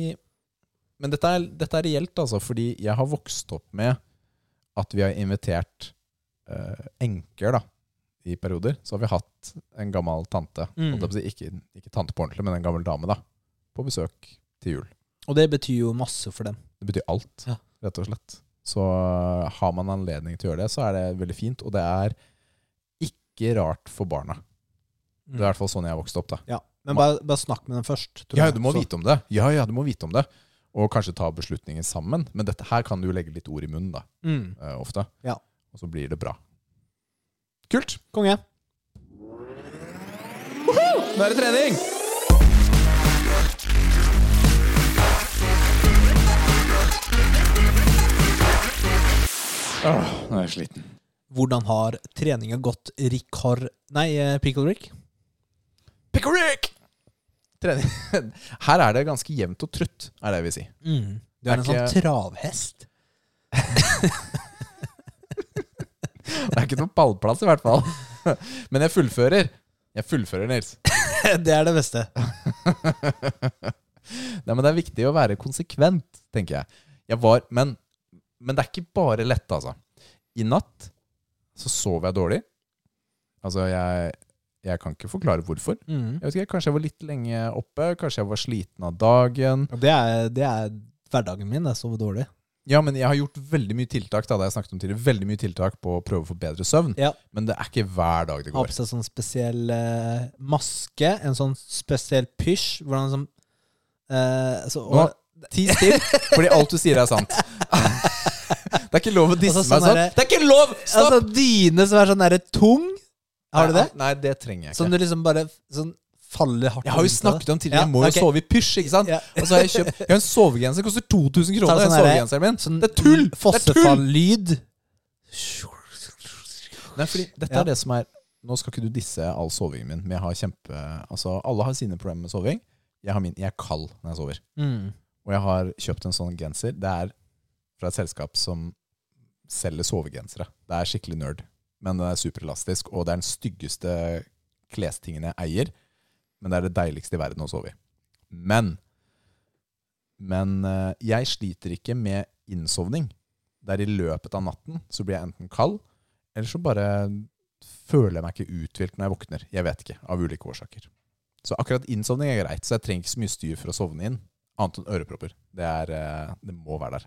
Speaker 2: Men dette er, dette er reelt, altså, fordi jeg har vokst opp med at vi har invitert eh, enker, da, i perioder. Så har vi hatt en gammel tante,
Speaker 1: Mm.
Speaker 2: holdt jeg på å si, ikke, ikke tante på ordentlig, men en gammel dame, da, på besøk til jul.
Speaker 1: Og det betyr jo masse for dem.
Speaker 2: Det betyr alt,
Speaker 1: Ja.
Speaker 2: rett og slett. Så har man anledning til å gjøre det, så er det veldig fint. Og det er ikke rart for barna. Det er i hvert fall sånn jeg har vokst opp. da.
Speaker 1: Ja, Men bare, bare snakk med dem først. tror
Speaker 2: Ja,
Speaker 1: jeg.
Speaker 2: du må
Speaker 1: Så-
Speaker 2: vite om det. Ja, ja, du må vite om det. Og kanskje ta beslutningen sammen. Men dette her kan du jo legge litt ord i munnen, da,
Speaker 1: Mm.
Speaker 2: eh, ofte.
Speaker 1: Ja.
Speaker 2: Og så blir det bra. Kult!
Speaker 1: Konge.
Speaker 2: Nå er det trening! Åh, nå er jeg sliten.
Speaker 1: Hvordan har treninga gått, Rikard Nei, eh, Pickle Rick?
Speaker 2: Pickerick! Trening. Her er det ganske jevnt og trutt, er det jeg vil si.
Speaker 1: Mm. Du er,
Speaker 2: Er
Speaker 1: en
Speaker 2: ikke-
Speaker 1: sånn travhest.
Speaker 2: Det er ikke noen ballplass i hvert fall. Men jeg fullfører. Jeg fullfører, Nils.
Speaker 1: det er det beste.
Speaker 2: Nei, men det er viktig å være konsekvent, tenker jeg. jeg var, men, men det er ikke bare lett, altså. I natt så sov jeg dårlig. Altså, jeg, jeg kan ikke forklare hvorfor.
Speaker 1: Mm.
Speaker 2: Jeg vet ikke, Kanskje jeg var litt lenge oppe, kanskje jeg var sliten av dagen.
Speaker 1: Og Det er, det er hverdagen min. Jeg sover dårlig.
Speaker 2: Ja, men jeg har gjort veldig mye tiltak da, det har jeg snakket om tidligere, veldig mye tiltak på å prøve å få bedre søvn.
Speaker 1: Ja.
Speaker 2: Men det er ikke hver dag det
Speaker 1: Har
Speaker 2: går.
Speaker 1: på seg sånn spesiell eh, maske. En sånn spesiell pysj. Hvordan som eh, så, og,
Speaker 2: Nå, ti still, fordi alt du sier er sant. Det er ikke lov å
Speaker 1: Altså,
Speaker 2: disse
Speaker 1: sånn
Speaker 2: meg sånn.
Speaker 1: er det-
Speaker 2: Det er ikke lov! Stopp!
Speaker 1: altså, dyne som er sånn derre tung. Har du det?
Speaker 2: Nei, det trenger jeg
Speaker 1: Som
Speaker 2: ikke.
Speaker 1: du liksom bare sånn faller hardt
Speaker 2: Jeg har
Speaker 1: rundt av
Speaker 2: jo
Speaker 1: det.
Speaker 2: snakket om tidligere,
Speaker 1: Ja,
Speaker 2: jeg må jo
Speaker 1: ok.
Speaker 2: sove i pysj, ikke sant?
Speaker 1: Ja.
Speaker 2: Og så har jeg kjøpt Jeg har en sovegenser, koster
Speaker 1: Ta
Speaker 2: 2000 kroner,
Speaker 1: sånn
Speaker 2: den
Speaker 1: derre-
Speaker 2: sovegenseren min.
Speaker 1: Sånn
Speaker 2: Det er tull! Det er tull!
Speaker 1: Fossefall-lyd.
Speaker 2: Nei, fordi dette
Speaker 1: Ja.
Speaker 2: er det som er Nå skal ikke du disse all sovingen min, men jeg har kjempe Altså, alle har sine problemer med soving. Jeg har min Jeg er kald når jeg sover.
Speaker 1: Mm.
Speaker 2: Og jeg har kjøpt en sånn genser. Det er fra et selskap som selger sovegensere. Det er skikkelig nerd, men den er superelastisk, og det er den styggeste klestingen jeg eier. Men det er det deiligste i verden å sove i. Men Men eh, jeg sliter ikke med innsovning. Det er i løpet av natten så blir jeg enten kald, eller så bare føler jeg meg ikke uthvilt når jeg våkner. Jeg vet ikke, av ulike årsaker. Så akkurat innsovning er greit, så jeg trenger ikke så mye styr for å sovne inn, annet enn ørepropper. Det, er, eh, det må være der.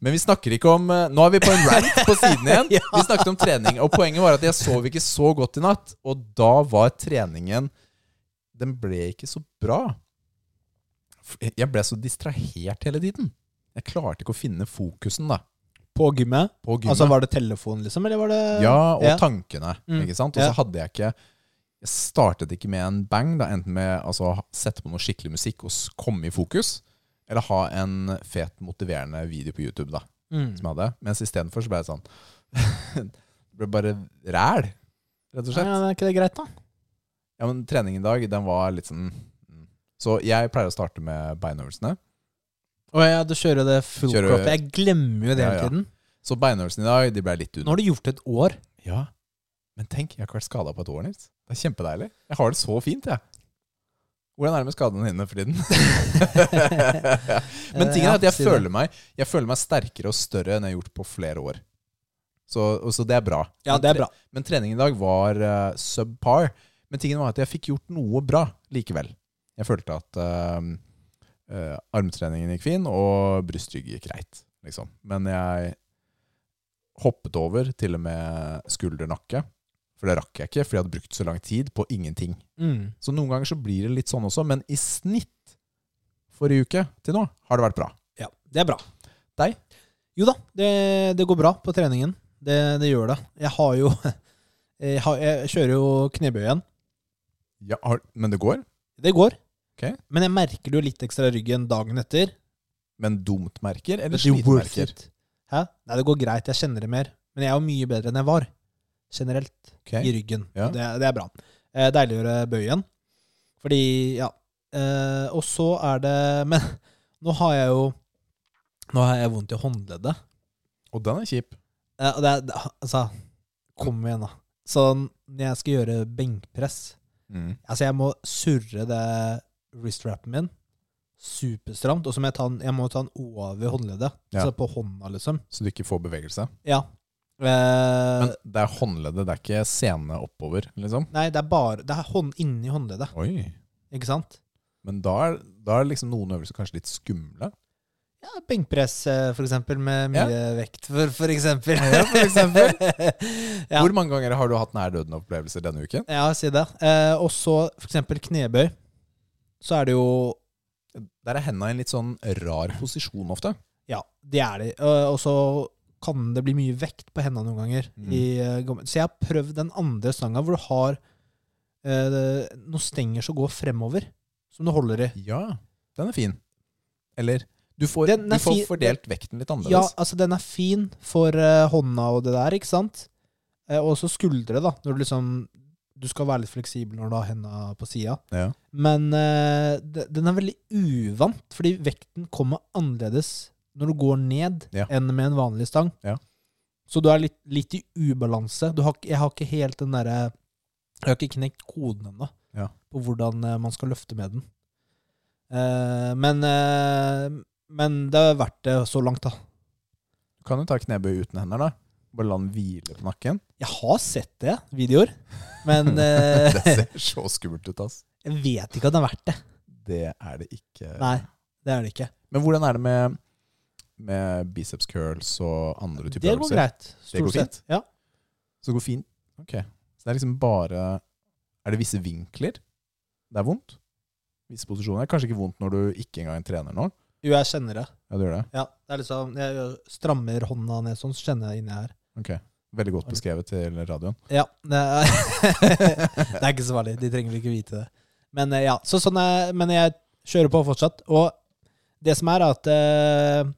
Speaker 2: Men vi snakker ikke om eh, Nå er vi på en rant på siden igjen. Vi snakket om trening, og poenget var at jeg sov ikke så godt i natt. Og da var treningen Den ble ikke så bra. F- Jeg ble så distrahert hele tiden. Jeg klarte ikke å finne fokusen da
Speaker 1: På gymmet?
Speaker 2: på gymmet.
Speaker 1: Altså, var det telefon, liksom? Eller var det
Speaker 2: ja, og
Speaker 1: ja.
Speaker 2: tankene.
Speaker 1: Mm,
Speaker 2: ikke sant? Og
Speaker 1: ja.
Speaker 2: så hadde jeg ikke Jeg startet ikke med en bang, da, enten med altså, å sette på noe skikkelig musikk og s- komme i fokus, eller ha en fet, motiverende video på YouTube. da som
Speaker 1: Mm.
Speaker 2: jeg hadde. Mens istedenfor så ble det sånn Det ble bare ræl, rett og
Speaker 1: Ja,
Speaker 2: slett.
Speaker 1: ja, er ikke det greit, da?
Speaker 2: Ja, men treningen i dag, den var litt sånn mm. Så jeg pleier å starte med beinøvelsene.
Speaker 1: Å ja, du kjører det full
Speaker 2: Kjører-
Speaker 1: crop. Jeg glemmer jo det
Speaker 2: Ja,
Speaker 1: hele
Speaker 2: ja.
Speaker 1: tiden.
Speaker 2: Så beinøvelsene i dag, de ble litt
Speaker 1: Nå
Speaker 2: under.
Speaker 1: har du gjort et år.
Speaker 2: Ja. Men tenk, jeg har ikke vært skada på et år, Nils. Det er kjempedeilig. Jeg har det så fint, jeg. Hvordan er det med skadene dine for tiden? Men
Speaker 1: Eh,
Speaker 2: tingen er at jeg føler meg Jeg føler meg sterkere og større enn jeg har gjort på flere år. Så, og så det er bra.
Speaker 1: Ja,
Speaker 2: Men
Speaker 1: det
Speaker 2: tre-
Speaker 1: er bra.
Speaker 2: Men treningen i dag var eh, subpar. Men tingen var at jeg fikk gjort noe bra likevel. Jeg følte at eh, eh, armtreningen gikk fin, og brystrygg gikk greit. Liksom. Men jeg hoppet over til og med skuldernakke. For det rakk jeg ikke, for jeg hadde brukt så lang tid på ingenting.
Speaker 1: Mm.
Speaker 2: Så noen ganger så blir det litt sånn også, men i snitt forrige uke til nå har det vært bra.
Speaker 1: Ja, det er bra.
Speaker 2: Deg?
Speaker 1: Jo da, det, det går bra på treningen. Det, det gjør det. Jeg har jo jeg, har, jeg kjører jo knebøy igjen.
Speaker 2: Ja, har, men det går.
Speaker 1: Det går.
Speaker 2: Ok.
Speaker 1: Men jeg merker det jo litt ekstra i ryggen dagen etter.
Speaker 2: Men dumt merker eller
Speaker 1: But you worth
Speaker 2: slitemerker?
Speaker 1: it. Hæ? Nei, det går greit. Jeg kjenner det mer. Men jeg er jo mye bedre enn jeg var. Generelt.
Speaker 2: Ok.
Speaker 1: I ryggen.
Speaker 2: Ja.
Speaker 1: Det, det er bra. Eh, deilig å gjøre bøy igjen. Fordi, ja. Eh, og så er det Men nå har jeg jo Nå har jeg vondt i håndleddet.
Speaker 2: Og den er kjip.
Speaker 1: Ja, og det er, det- altså, kom igjen da. Så når jeg skal gjøre benkpress,
Speaker 2: Mm.
Speaker 1: altså jeg må surre det wrist-rappen min, superstramt, og så må jeg ta den, jeg må ta den over håndleddet,
Speaker 2: Ja.
Speaker 1: altså på hånda liksom.
Speaker 2: Så du ikke får bevegelse.
Speaker 1: Ja. Eh,
Speaker 2: Men det er håndleddet, det er ikke sene oppover, liksom?
Speaker 1: nei, det er bare, det er hånd, inni håndleddet,
Speaker 2: Oi.
Speaker 1: ikke sant?
Speaker 2: Men da er, da er liksom noen øvelser kanskje litt skumle.
Speaker 1: Ja, benkpress eh, for eksempel, med
Speaker 2: Ja.
Speaker 1: mye vekt for, for eksempel.
Speaker 2: Ja, for
Speaker 1: eksempel. ja.
Speaker 2: Hvor mange ganger har du hatt nær-døden-opplevelser denne uken?
Speaker 1: Ja, si det. Eh, og så for eksempel knebøy, så er det jo
Speaker 2: Der er henda i en litt sånn rar posisjon ofte.
Speaker 1: Ja, det er de. Og og så kan det bli mye vekt på hendene noen ganger.
Speaker 2: Mm.
Speaker 1: I, eh, gamle- så jeg har prøvd den andre stanga hvor du har eh, noen stenger som går fremover, som du holder i.
Speaker 2: Ja, den er fin. Eller du får,
Speaker 1: Den er
Speaker 2: du får
Speaker 1: fin-
Speaker 2: fordelt vekten litt
Speaker 1: Ja,
Speaker 2: annerledes.
Speaker 1: altså den er fin for eh, hånda og det der, ikke sant? Eh, og så skuldre, da, når du liksom Du skal være litt fleksibel når du har henda på sida.
Speaker 2: Ja.
Speaker 1: Men eh, de- den er veldig uvant, fordi vekten kommer annerledes når du går ned
Speaker 2: Ja.
Speaker 1: enn med en vanlig stang.
Speaker 2: Ja.
Speaker 1: Så du er litt, litt i ubalanse. Du har, ikke- jeg har ikke helt den derre Jeg har ikke knekt koden ennå
Speaker 2: Ja.
Speaker 1: på hvordan eh, man skal løfte med den. Eh, men, eh, men det er verdt det så langt, da.
Speaker 2: Du kan jo ta knebøy uten hender, da. Bare la den hvile på nakken.
Speaker 1: Jeg har sett det, videoer, men eh,
Speaker 2: Det ser så skummelt ut, ass.
Speaker 1: jeg vet ikke at det er verdt det.
Speaker 2: Det er det ikke.
Speaker 1: Nei, det er det ikke.
Speaker 2: Men hvordan er det med, med biceps curls og andre typer
Speaker 1: Det går greit.
Speaker 2: Det går
Speaker 1: stort sett.
Speaker 2: fint?
Speaker 1: Ja.
Speaker 2: Så det går fint? Ok. Så det er liksom bare Er det visse vinkler det er vondt? Visse posisjoner? Kanskje ikke vondt når du ikke engang trener nå?
Speaker 1: Jo, jeg kjenner det.
Speaker 2: Ja, du gjør det?
Speaker 1: Ja, det er liksom, jeg gjør- strammer hånda ned sånn, så kjenner jeg inni her.
Speaker 2: Ok. Veldig godt beskrevet til radioen.
Speaker 1: Ja, det er, det er ikke så farlig. De trenger vel ikke vite det. Men eh, ja, så sånn er, men jeg kjører på fortsatt. Og det som er, er at eh,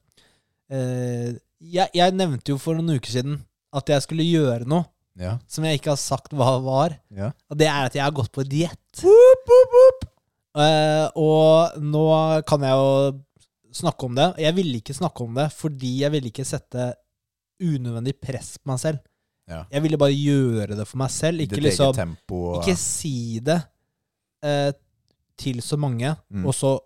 Speaker 1: eh, jeg, jeg nevnte jo for noen uker siden at jeg skulle gjøre noe
Speaker 2: Ja.
Speaker 1: som jeg ikke har sagt hva var.
Speaker 2: ja.
Speaker 1: Og det er at jeg har gått på diett. Eh, og nå kan jeg jo snakke om det. Jeg ville ikke snakke om det fordi jeg ville ikke sette unødvendig press på meg selv.
Speaker 2: Ja.
Speaker 1: Jeg ville bare gjøre det for meg selv.
Speaker 2: I
Speaker 1: Ikke,
Speaker 2: ditt
Speaker 1: liksom,
Speaker 2: eget tempo. og-
Speaker 1: ikke si det eh, til så mange,
Speaker 2: Mm.
Speaker 1: og så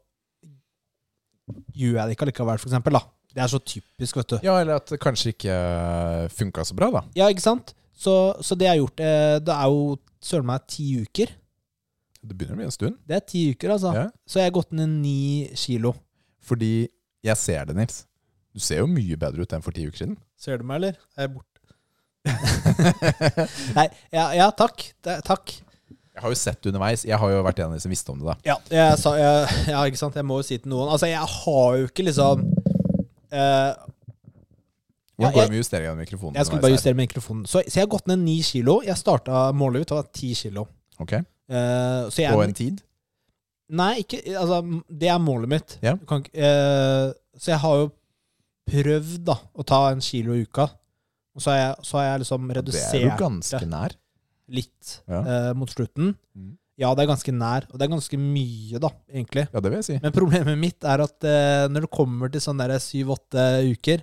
Speaker 1: gjør jeg det ikke allikevel, for eksempel, da. Det er så typisk, vet du.
Speaker 2: Ja, eller at det kanskje ikke funka så bra, da.
Speaker 1: Ja, ikke sant? Så, så det jeg har gjort, eh, det er jo søren meg ti uker.
Speaker 2: Det begynner å bli en stund.
Speaker 1: Det er ti uker, altså.
Speaker 2: Ja.
Speaker 1: Så jeg har gått ned ni kilo.
Speaker 2: Fordi jeg ser det, Nils. Du ser jo mye bedre ut enn for ti uker siden.
Speaker 1: Ser du meg, eller? Er jeg borte? Nei, ja, ja takk. Det, takk.
Speaker 2: Jeg har jo sett det underveis. Jeg har jo vært en av de som visste om det, da.
Speaker 1: Ja, jeg sa, jeg, ja, ikke sant? Jeg må jo si til noen Altså, jeg har jo ikke liksom eh, Ja,
Speaker 2: Hvordan går
Speaker 1: jeg-
Speaker 2: det med justeringen av mikrofonen?
Speaker 1: Jeg skulle bare justere mikrofonen. Så, så jeg har gått ned ni kilo. Jeg starta målet ut, det var ti kilo.
Speaker 2: Ok,
Speaker 1: Eh, så
Speaker 2: På
Speaker 1: jeg
Speaker 2: en tid?
Speaker 1: Nei, ikke Altså, det er målet mitt.
Speaker 2: Ja.
Speaker 1: Du Kan, ikke- eh, så jeg har jo prøvd, da, å ta en kilo i uka. Og så har jeg, så har jeg liksom
Speaker 2: Det er jo
Speaker 1: redusert
Speaker 2: ganske nær.
Speaker 1: litt
Speaker 2: Ja.
Speaker 1: eh, mot slutten.
Speaker 2: Mhm.
Speaker 1: Ja, det er ganske nær, og det er ganske mye, da, egentlig.
Speaker 2: Ja, det vil jeg si.
Speaker 1: Men problemet mitt er at eh, når det kommer til sånne der syv-åtte uker,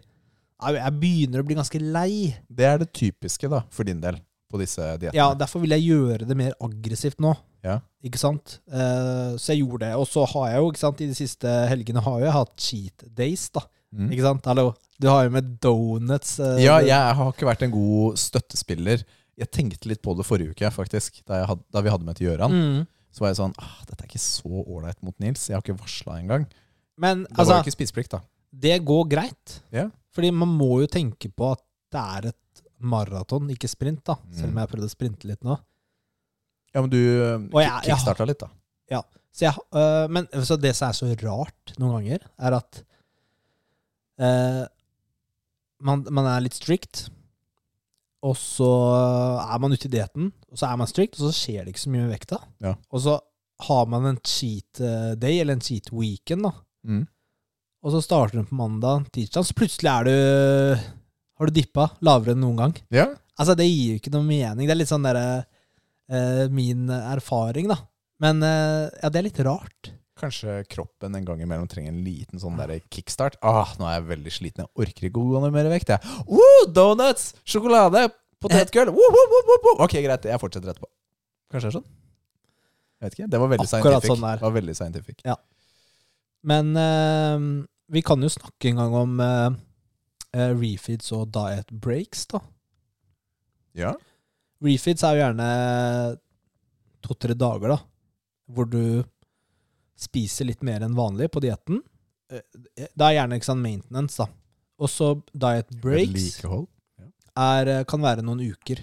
Speaker 1: au, jeg begynner å bli ganske lei.
Speaker 2: Det er det typiske, da, for din del, på disse diettene.
Speaker 1: Ja, Derfor vil jeg gjøre det mer aggressivt nå.
Speaker 2: Ja.
Speaker 1: Ikke sant? Eh, så jeg gjorde det. Og så har jeg jo, ikke sant, i de siste helgene har jeg hatt cheat days, da.
Speaker 2: Mm.
Speaker 1: Ikke sant? Hallo. Du har jo med donuts. eh,
Speaker 2: Ja, jeg har ikke vært en god støttespiller. Jeg tenkte litt på det forrige uke, faktisk, da, jeg hadde, da vi hadde med til Gjøran.
Speaker 1: Mm.
Speaker 2: Så var jeg sånn ah, Dette er ikke så ålreit mot Nils. Jeg har ikke varsla engang.
Speaker 1: Men
Speaker 2: Det
Speaker 1: altså,
Speaker 2: var jo ikke spiseplikt, da.
Speaker 1: det går greit.
Speaker 2: Ja.
Speaker 1: Fordi man må jo tenke på at det er et maraton, ikke sprint, da. Selv om jeg prøvde å sprinte litt nå.
Speaker 2: Ja, men du
Speaker 1: Og jeg- jeg
Speaker 2: kickstarta litt, da.
Speaker 1: Så jeg, øh, men så det som er så rart noen ganger, er at øh, man, man er litt strict, og så er man ute i dietten, og så er man strict, og så skjer det ikke så mye med vekta.
Speaker 2: Ja.
Speaker 1: Og så har man en cheat øh, day, eller en cheat weekend, da.
Speaker 2: Mm.
Speaker 1: og så starter du på mandag, tirsdag, så plutselig er du Har du dippa lavere enn noen gang?
Speaker 2: Ja.
Speaker 1: Altså, det gir jo ikke noe mening. Det er litt sånn derre eh, Min erfaring, da. Men eh, ja, det er litt rart.
Speaker 2: Kanskje kroppen en gang imellom trenger en liten sånn der kickstart. Ah, nå er jeg veldig sliten. Jeg orker ikke å gå ned mer i vekt. Jeg. Oh, donuts! Sjokolade! Potetgull!
Speaker 1: Eh.
Speaker 2: Woo, woo, woo, woo, woo. Ok, greit. Jeg fortsetter etterpå. Kanskje det er sånn? Jeg vet ikke. Det var veldig
Speaker 1: Akkurat
Speaker 2: scientific.
Speaker 1: sånn det er.
Speaker 2: det var veldig scientific.
Speaker 1: Men eh, vi kan jo snakke en gang om eh, eh, refeeds og diet breaks, da.
Speaker 2: Ja.
Speaker 1: Refeeds er jo gjerne to-tre dager, da, hvor du spiser litt mer enn vanlig på dietten. Eh, Det er gjerne ikke sant, maintenance, da. Og så diet breaks
Speaker 2: Vedlikehold.
Speaker 1: er, eh, kan være noen uker.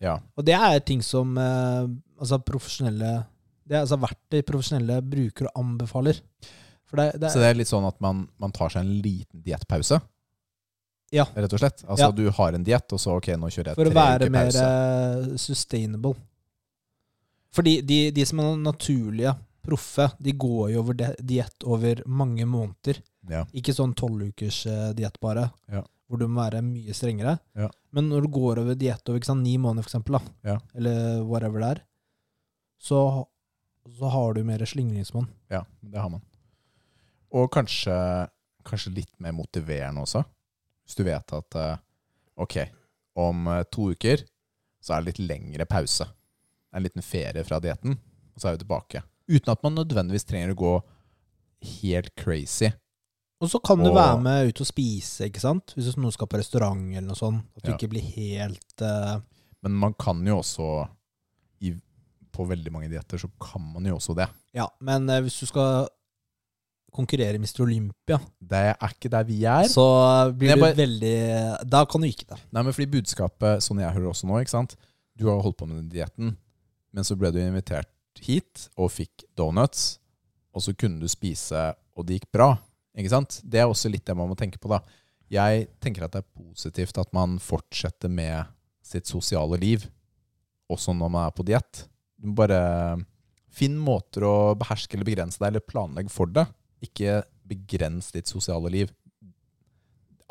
Speaker 2: Ja.
Speaker 1: Og det er ting som eh, altså profesjonelle Det er altså verktøy profesjonelle bruker og anbefaler. For det, det,
Speaker 2: Så det er litt sånn at man, man tar seg en liten diettpause?
Speaker 1: Ja.
Speaker 2: Rett og slett? Altså
Speaker 1: Ja.
Speaker 2: du har en diett, og så ok, nå kjører jeg
Speaker 1: for å
Speaker 2: tre
Speaker 1: være
Speaker 2: uker
Speaker 1: mer
Speaker 2: pause.
Speaker 1: eh, sustainable. Fordi de, de som er naturlige, proffe, de går jo over de- diett over mange måneder.
Speaker 2: Ja.
Speaker 1: Ikke sånn tolvukers eh, diett bare,
Speaker 2: Ja.
Speaker 1: hvor du må være mye strengere.
Speaker 2: Ja.
Speaker 1: Men når du går over diett over ikke sant, ni måneder, for eksempel, da,
Speaker 2: Ja.
Speaker 1: eller whatever det er, så, så har du mer slingringsmonn.
Speaker 2: Ja, det har man. Og kanskje, kanskje litt mer motiverende også. Hvis du vet at eh, ok, om eh, to uker så er det litt lengre pause. En liten ferie fra dietten, og så er vi tilbake. Uten at man nødvendigvis trenger å gå helt crazy.
Speaker 1: Og så kan du
Speaker 2: Og-
Speaker 1: være med ut og spise, ikke sant? Hvis noen skal på restaurant eller noe sånt. At du
Speaker 2: Ja.
Speaker 1: ikke blir helt eh,
Speaker 2: Men man kan jo også i, På veldig mange dietter så kan man jo også det.
Speaker 1: Ja, men eh, hvis du skal konkurrere i Mr. Olympia,
Speaker 2: Det er ikke der vi er.
Speaker 1: så blir
Speaker 2: Men jeg
Speaker 1: du
Speaker 2: eh, bare-
Speaker 1: veldig Da kan du ikke det.
Speaker 2: Nei, men fordi budskapet, sånn jeg hører også nå, ikke sant? Du har holdt på med den dietten, men så ble du invitert hit og fikk donuts, og så kunne du spise, og det gikk bra. Ikke sant? Det er også litt det man må tenke på, da. Jeg tenker at det er positivt at man fortsetter med sitt sosiale liv, også når man er på diett. Du må bare finn måter å beherske eller begrense deg, eller planlegge for det. Ikke begrens ditt sosiale liv.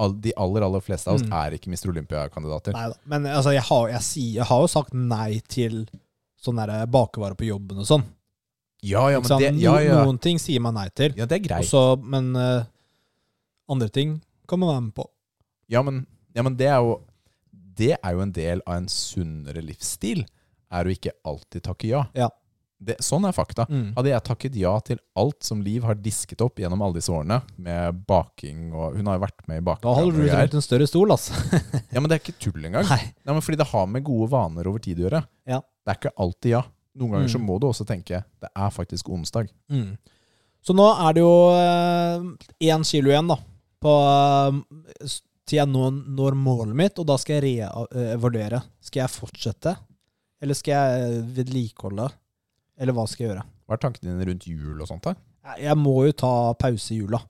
Speaker 2: All- De aller, aller fleste av oss
Speaker 1: Mm.
Speaker 2: er ikke Mr. Olympia-kandidater.
Speaker 1: Nei da. Men altså, jeg har, jeg, sier, jeg har jo sagt nei til sånn derre bakevare på jobben og sånn.
Speaker 2: Ja, ja,
Speaker 1: Ikke sant?
Speaker 2: men det, ja,
Speaker 1: No-
Speaker 2: ja.
Speaker 1: Noen ting sier man nei til,
Speaker 2: ja, det er
Speaker 1: og
Speaker 2: greit.
Speaker 1: så, men eh, andre ting kan man være med på.
Speaker 2: Ja, men, ja, men det, er jo, det er jo en del av en sunnere livsstil, er å ikke alltid takke ja.
Speaker 1: Ja.
Speaker 2: Det, sånn er fakta.
Speaker 1: Mm.
Speaker 2: Hadde jeg takket ja til alt som Liv har disket opp gjennom alle disse årene, med baking og Hun har jo vært med i baking.
Speaker 1: Da holder du rundt en større stol, altså.
Speaker 2: Ja, men det er ikke tull engang.
Speaker 1: Nei.
Speaker 2: Nei, men fordi det har med gode vaner over tid å gjøre.
Speaker 1: Ja.
Speaker 2: Det er ikke alltid ja. Noen ganger så
Speaker 1: Mm.
Speaker 2: må du også tenke det er faktisk onsdag.
Speaker 1: Mm. Så nå er det jo én kilo igjen, da. På, eh, s- til jeg nå, når målet mitt, og da skal jeg revurdere. Skal jeg fortsette, eller skal jeg eh, vedlikeholde? Eller hva skal jeg gjøre?
Speaker 2: Hva er tankene dine rundt jul og sånt? da?
Speaker 1: Jeg- Jeg må jo ta pause i jula.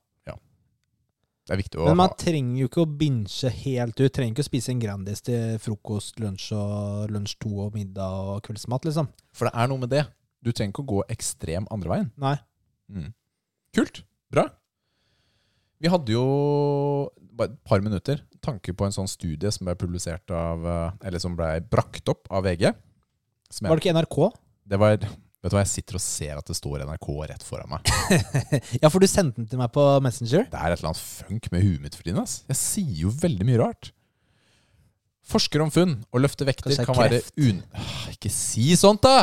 Speaker 2: Det er viktig å
Speaker 1: Men man
Speaker 2: ha.
Speaker 1: trenger jo ikke å binche helt ut. Trenger ikke å spise en Grandis til frokost, lunsj og lunsj to og middag og kveldsmat, liksom.
Speaker 2: For det er noe med det. Du trenger ikke å gå ekstrem andre veien.
Speaker 1: Nei.
Speaker 2: Mm. Kult. Bra. Vi hadde jo bare et par minutter tanke på en sånn studie som ble publisert av eh, Eller som ble brakt opp av VG. Som
Speaker 1: Var
Speaker 2: jeg,
Speaker 1: det ikke NRK?
Speaker 2: det var, vet du hva, jeg sitter og ser at det står NRK rett foran meg.
Speaker 1: Ja, for du sendte den til meg på Messenger.
Speaker 2: Det er et eller annet funk med huet mitt for tiden. ass. Jeg sier jo veldig mye rart. Forsker om funn og løfte vekter
Speaker 1: Kanskje det er
Speaker 2: kan være un... Ah, Ikke si sånt, da!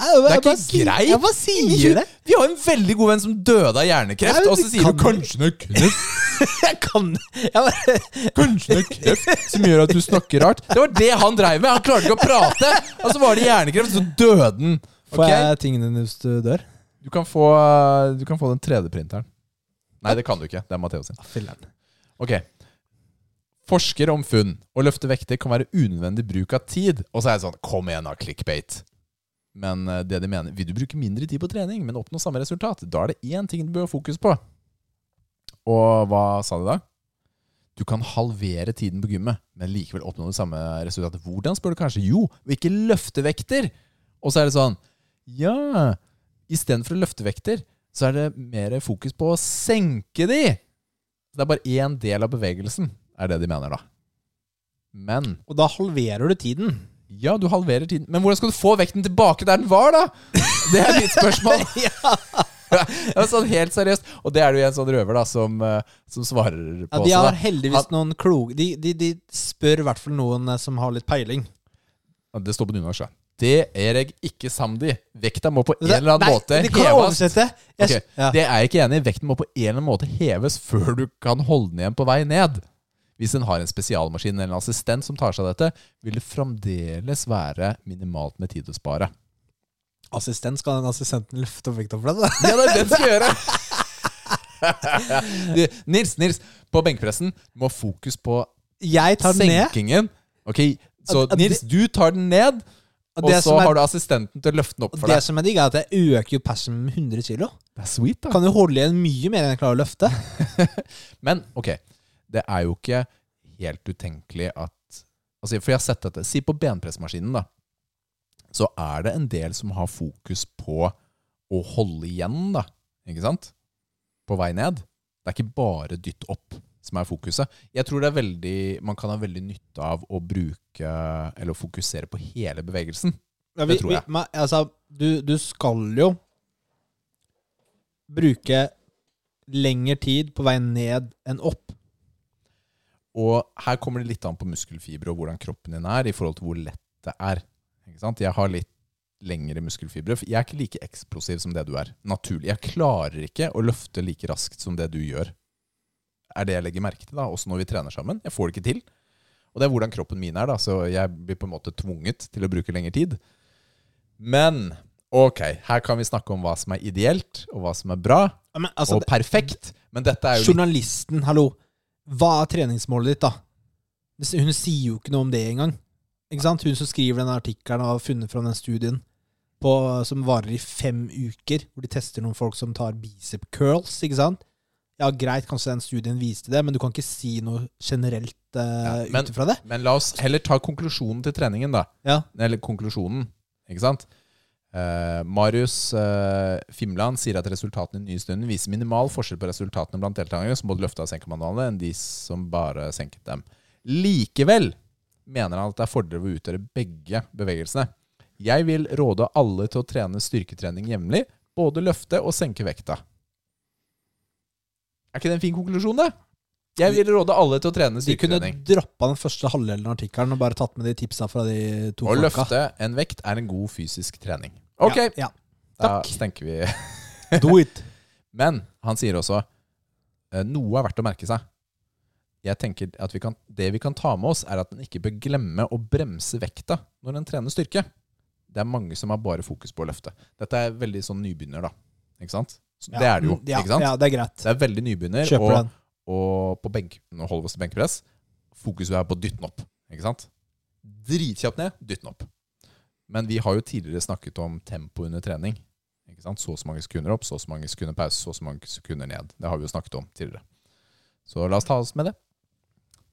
Speaker 1: Det
Speaker 2: ikke greit.
Speaker 1: Jeg bare sier det.
Speaker 2: Vi har en veldig god venn som døde av hjernekreft,
Speaker 1: Nei, men
Speaker 2: og så
Speaker 1: vi
Speaker 2: sier
Speaker 1: kan
Speaker 2: du kanskje det er kreft,
Speaker 1: Jeg kan jeg bare,
Speaker 2: kanskje det er kreft, som gjør at du snakker rart. Det var det han dreiv med! Han klarte ikke å prate! Og så var det hjernekreft, så døde han.
Speaker 1: Får
Speaker 2: Ok?
Speaker 1: jeg tingene dine hvis du dør?
Speaker 2: Du, kan få, du kan få den 3D-printeren. Nei, det kan du ikke. Det er Matheo sin.
Speaker 1: Ah,
Speaker 2: Ok. Forsker om funn og løfte vekter kan være unødvendig bruk av tid. Og så er det sånn Kom igjen, da, clickbait. Men eh, det de mener Vil du bruke mindre tid på trening, men oppnå samme resultat? Da er det én ting du bør ha fokus på. Og hva sa de da? Du kan halvere tiden på gymmet, men likevel oppnå det samme resultatet. Hvordan, spør du kanskje? Jo, og ikke løfte vekter! Og så er det sånn Ja, istedenfor å løfte vekter, så er det mer fokus på å senke de! Så det er bare én del av bevegelsen, er det de mener, da. Men
Speaker 1: Og da halverer du tiden.
Speaker 2: ja, du halverer tiden. Men hvordan skal du få vekten tilbake der den var, da? Det er mitt spørsmål. Ja, sånn helt seriøst. Og det er det jo en sånn røver da som, eh, som svarer på
Speaker 1: Ja, de
Speaker 2: også,
Speaker 1: har
Speaker 2: da.
Speaker 1: heldigvis noen kloke de, de, de spør i hvert fall noen eh, som har litt peiling.
Speaker 2: Ja, Det står på nynorsk, da. Det er jeg ikke samd i. Vekta må på en
Speaker 1: Det-
Speaker 2: eller annen
Speaker 1: nei,
Speaker 2: måte
Speaker 1: De kan jeg
Speaker 2: heves.
Speaker 1: oversette. Jeg,
Speaker 2: Ok,
Speaker 1: ja.
Speaker 2: Det er jeg ikke enig i. Vekten må på en eller annen måte heves før du kan holde den igjen på vei ned. Hvis en har en spesialmaskin eller en assistent som tar seg av dette, vil det fremdeles være minimalt med tid å spare.
Speaker 1: Assistent skal den assistenten løfte opp vekta for deg. da?
Speaker 2: Ja, det er det du skal gjøre. du, Nils, Nils, på benkpressen må ha fokus på
Speaker 1: Jeg tar den ned.
Speaker 2: senkingen. Ok, Så
Speaker 1: At- at
Speaker 2: Nils, du tar den ned,
Speaker 1: Og
Speaker 2: og
Speaker 1: det
Speaker 2: så
Speaker 1: som er-
Speaker 2: har du assistenten til å løfte den opp
Speaker 1: Og
Speaker 2: for
Speaker 1: det
Speaker 2: deg.
Speaker 1: som er digg, er at jeg øker jo persen med 100 kilo.
Speaker 2: Det er sweet, da.
Speaker 1: Kan jo holde igjen mye mer enn jeg klarer å løfte.
Speaker 2: Men ok, det er jo ikke helt utenkelig at altså, For jeg har sett dette. Si på benpressmaskinen, da. Så er det en del som har fokus på å holde igjen, da. Ikke sant? På vei ned. Det er ikke bare dytt opp som er fokuset. Jeg tror det er veldig, man kan ha veldig nytte av å bruke Eller å fokusere på hele bevegelsen.
Speaker 1: Ja,
Speaker 2: Det tror jeg.
Speaker 1: Vi, men, altså, du, du skal jo bruke lengre tid på vei ned enn opp.
Speaker 2: Og her kommer det litt an på muskelfibre og hvordan kroppen din er i forhold til hvor lett det er. Ikke sant? Jeg har litt lengre muskelfibre. for Jeg er ikke like eksplosiv som det du er. Naturlig. Jeg klarer ikke å løfte like raskt som det du gjør. Er det jeg legger merke til, da, også når vi trener sammen. Jeg får det ikke til. Og det er hvordan kroppen min er, da, så jeg blir på en måte tvunget til å bruke lengre tid. Men ok, her kan vi snakke om hva som er ideelt, og hva som er bra,
Speaker 1: Ja, Men, altså,
Speaker 2: og perfekt. Men dette er jo litt
Speaker 1: journalisten, hallo, hva er treningsmålet ditt, da? Hvis- Hun sier jo ikke noe om det engang. Ikke sant? Hun som skriver den artikkelen og har funnet fram den studien på, som varer i fem uker, hvor de tester noen folk som tar bicep curls, ikke sant? Ja, greit, kanskje den studien viste det, men du kan ikke si noe generelt uh,
Speaker 2: men-
Speaker 1: ut ifra det.
Speaker 2: Men la oss heller ta konklusjonen til treningen, da.
Speaker 1: Ja.
Speaker 2: Eller konklusjonen, ikke sant? Eh, Marius eh, Fimland sier at resultatene i den nye stunden viser minimal forskjell på resultatene blant deltakerne som både løfta og senka manualene, enn de som bare senket dem. Likevel mener han at det er fordeler ved å utgjøre begge bevegelsene. Jeg vil råde alle til å trene styrketrening jevnlig, både løfte og senke vekta. Er ikke det en fin konklusjon, da? Jeg vil råde alle til å trene
Speaker 1: De kunne
Speaker 2: styrketrening.
Speaker 1: droppa den første halvdelen av artikkelen og bare tatt med de tipsa fra de to
Speaker 2: Å
Speaker 1: folka.
Speaker 2: løfte en vekt er en god fysisk trening. Ok,
Speaker 1: Ja, ja.
Speaker 2: Da
Speaker 1: Takk.
Speaker 2: stenker vi
Speaker 1: Do it.
Speaker 2: Men han sier også eh, noe er verdt å merke seg. Jeg tenker at vi kan, Det vi kan ta med oss, er at en ikke bør glemme å bremse vekta når en trener styrke. Det er mange som har bare fokus på å løfte. Dette er veldig sånn nybegynner, da. Ikke sant? Så Det er det jo.
Speaker 1: Ja,
Speaker 2: ikke sant?
Speaker 1: ja, det er greit.
Speaker 2: Det er veldig nybegynner.
Speaker 1: Kjøper
Speaker 2: og,
Speaker 1: den.
Speaker 2: og på benk, nå holder vi oss til benkpress. Fokuset er på å dytte den opp. Ikke sant? Dritkjapt ned, dytte den opp. Men vi har jo tidligere snakket om tempo under trening. Ikke sant? Så og så mange sekunder opp, så og så mange sekunder pause, så og så mange sekunder ned. Det har vi jo snakket om tidligere. Så la oss ta oss med det.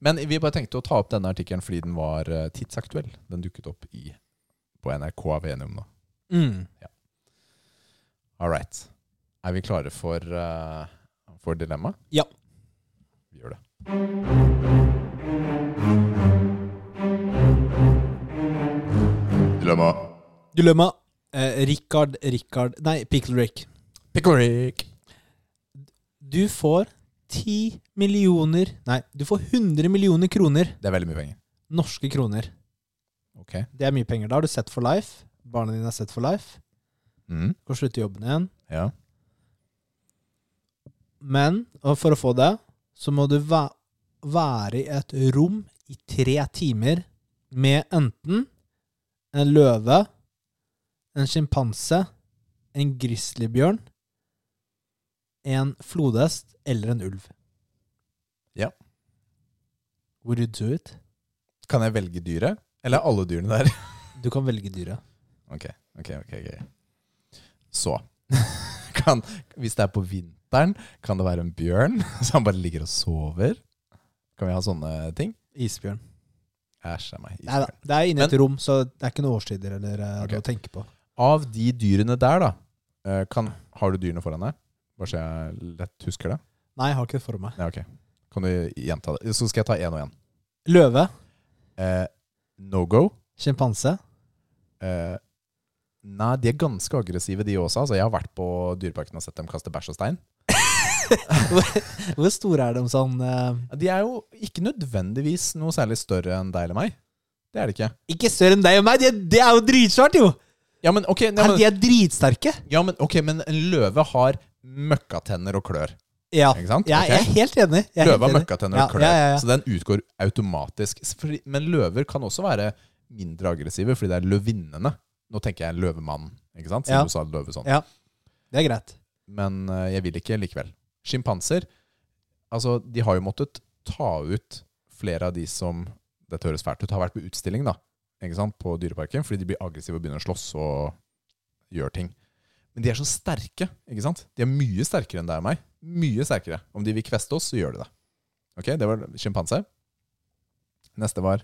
Speaker 2: Men vi bare tenkte å ta opp denne artikkelen fordi den var eh, tidsaktuell. Den dukket opp i, på NRK er vi enige om nå.
Speaker 1: Mm.
Speaker 2: All right. Er vi klare for, eh, for dilemma?
Speaker 1: Ja.
Speaker 2: Vi gjør det. Dilemma.
Speaker 1: Dilemma. Eh, Richard, Richard Nei, Pickle Rick.
Speaker 2: Pickerick.
Speaker 1: Du får 10 millioner Nei, du får 100 millioner kroner.
Speaker 2: Det er veldig mye penger.
Speaker 1: Norske kroner.
Speaker 2: Ok.
Speaker 1: Det er mye penger. Da har du sett for life. Barna dine er sett for life.
Speaker 2: Mm.
Speaker 1: Du kan slutte i jobben igjen.
Speaker 2: Ja.
Speaker 1: Men og for å få det, så må du væ være i et rom i tre timer med enten en løve, en sjimpanse, en grizzlybjørn, en flodhest eller en ulv.
Speaker 2: Ja.
Speaker 1: Would you do it?
Speaker 2: Kan jeg velge dyret? Eller alle dyrene der?
Speaker 1: Du kan velge dyret.
Speaker 2: Ok, ok, ok. ok. Så kan, Hvis det er på vinteren, kan det være en bjørn som bare ligger og sover? Kan vi ha sånne ting?
Speaker 1: Isbjørn.
Speaker 2: Æsj a meg.
Speaker 1: Nei da,
Speaker 2: isbjørn.
Speaker 1: det er inne i et
Speaker 2: Men-
Speaker 1: rom, så det er ikke noen årstider eller eh,
Speaker 2: Ok.
Speaker 1: noe å tenke på.
Speaker 2: Av de dyrene der, da eh, kan, Har du dyrene foran deg? Bare så jeg lett husker det.
Speaker 1: Nei, jeg har ikke det for meg.
Speaker 2: Ja, ok. Kan du gjenta det? Så skal jeg ta én og én.
Speaker 1: Løve,
Speaker 2: Eh, no go.
Speaker 1: sjimpanse,
Speaker 2: Eh, nei, de er ganske aggressive, de også. Altså, jeg har vært på Dyreparken og sett dem kaste bæsj og stein.
Speaker 1: Hvor store er de sånn eh,
Speaker 2: De er jo ikke nødvendigvis noe særlig større enn deg eller meg. Det er de ikke.
Speaker 1: Ikke større enn deg og meg! Det det er jo dritsvært, jo!
Speaker 2: Ja, men ok, nei,
Speaker 1: Nei,
Speaker 2: men,
Speaker 1: de er dritsterke.
Speaker 2: ja, men, ok, men en løve har møkkatenner og klør.
Speaker 1: Ja.
Speaker 2: Ikke sant?
Speaker 1: Jeg, jeg
Speaker 2: Ok.
Speaker 1: er helt enig. Jeg er helt
Speaker 2: Løve har
Speaker 1: enig.
Speaker 2: møkkatenner og
Speaker 1: Ja,
Speaker 2: klør,
Speaker 1: ja, ja, ja.
Speaker 2: så den utgår automatisk. S- fordi- Men løver kan også være mindre aggressive, fordi det er løvinnene. Nå tenker jeg løvemann, ikke sant? Siden
Speaker 1: Ja.
Speaker 2: du sa løve sånn.
Speaker 1: Ja. Det er greit.
Speaker 2: Men eh, jeg vil ikke likevel. Sjimpanser, altså, de har jo måttet ta ut flere av de som dette høres fælt ut, har vært på utstilling da, ikke sant, på dyreparken, fordi de blir aggressive og begynner å slåss og gjør ting. Men de er så sterke, ikke sant? De er mye sterkere enn deg og meg. Mye sterkere. Om de vil kveste oss, så gjør de det. Ok, det var sjimpanse. Neste var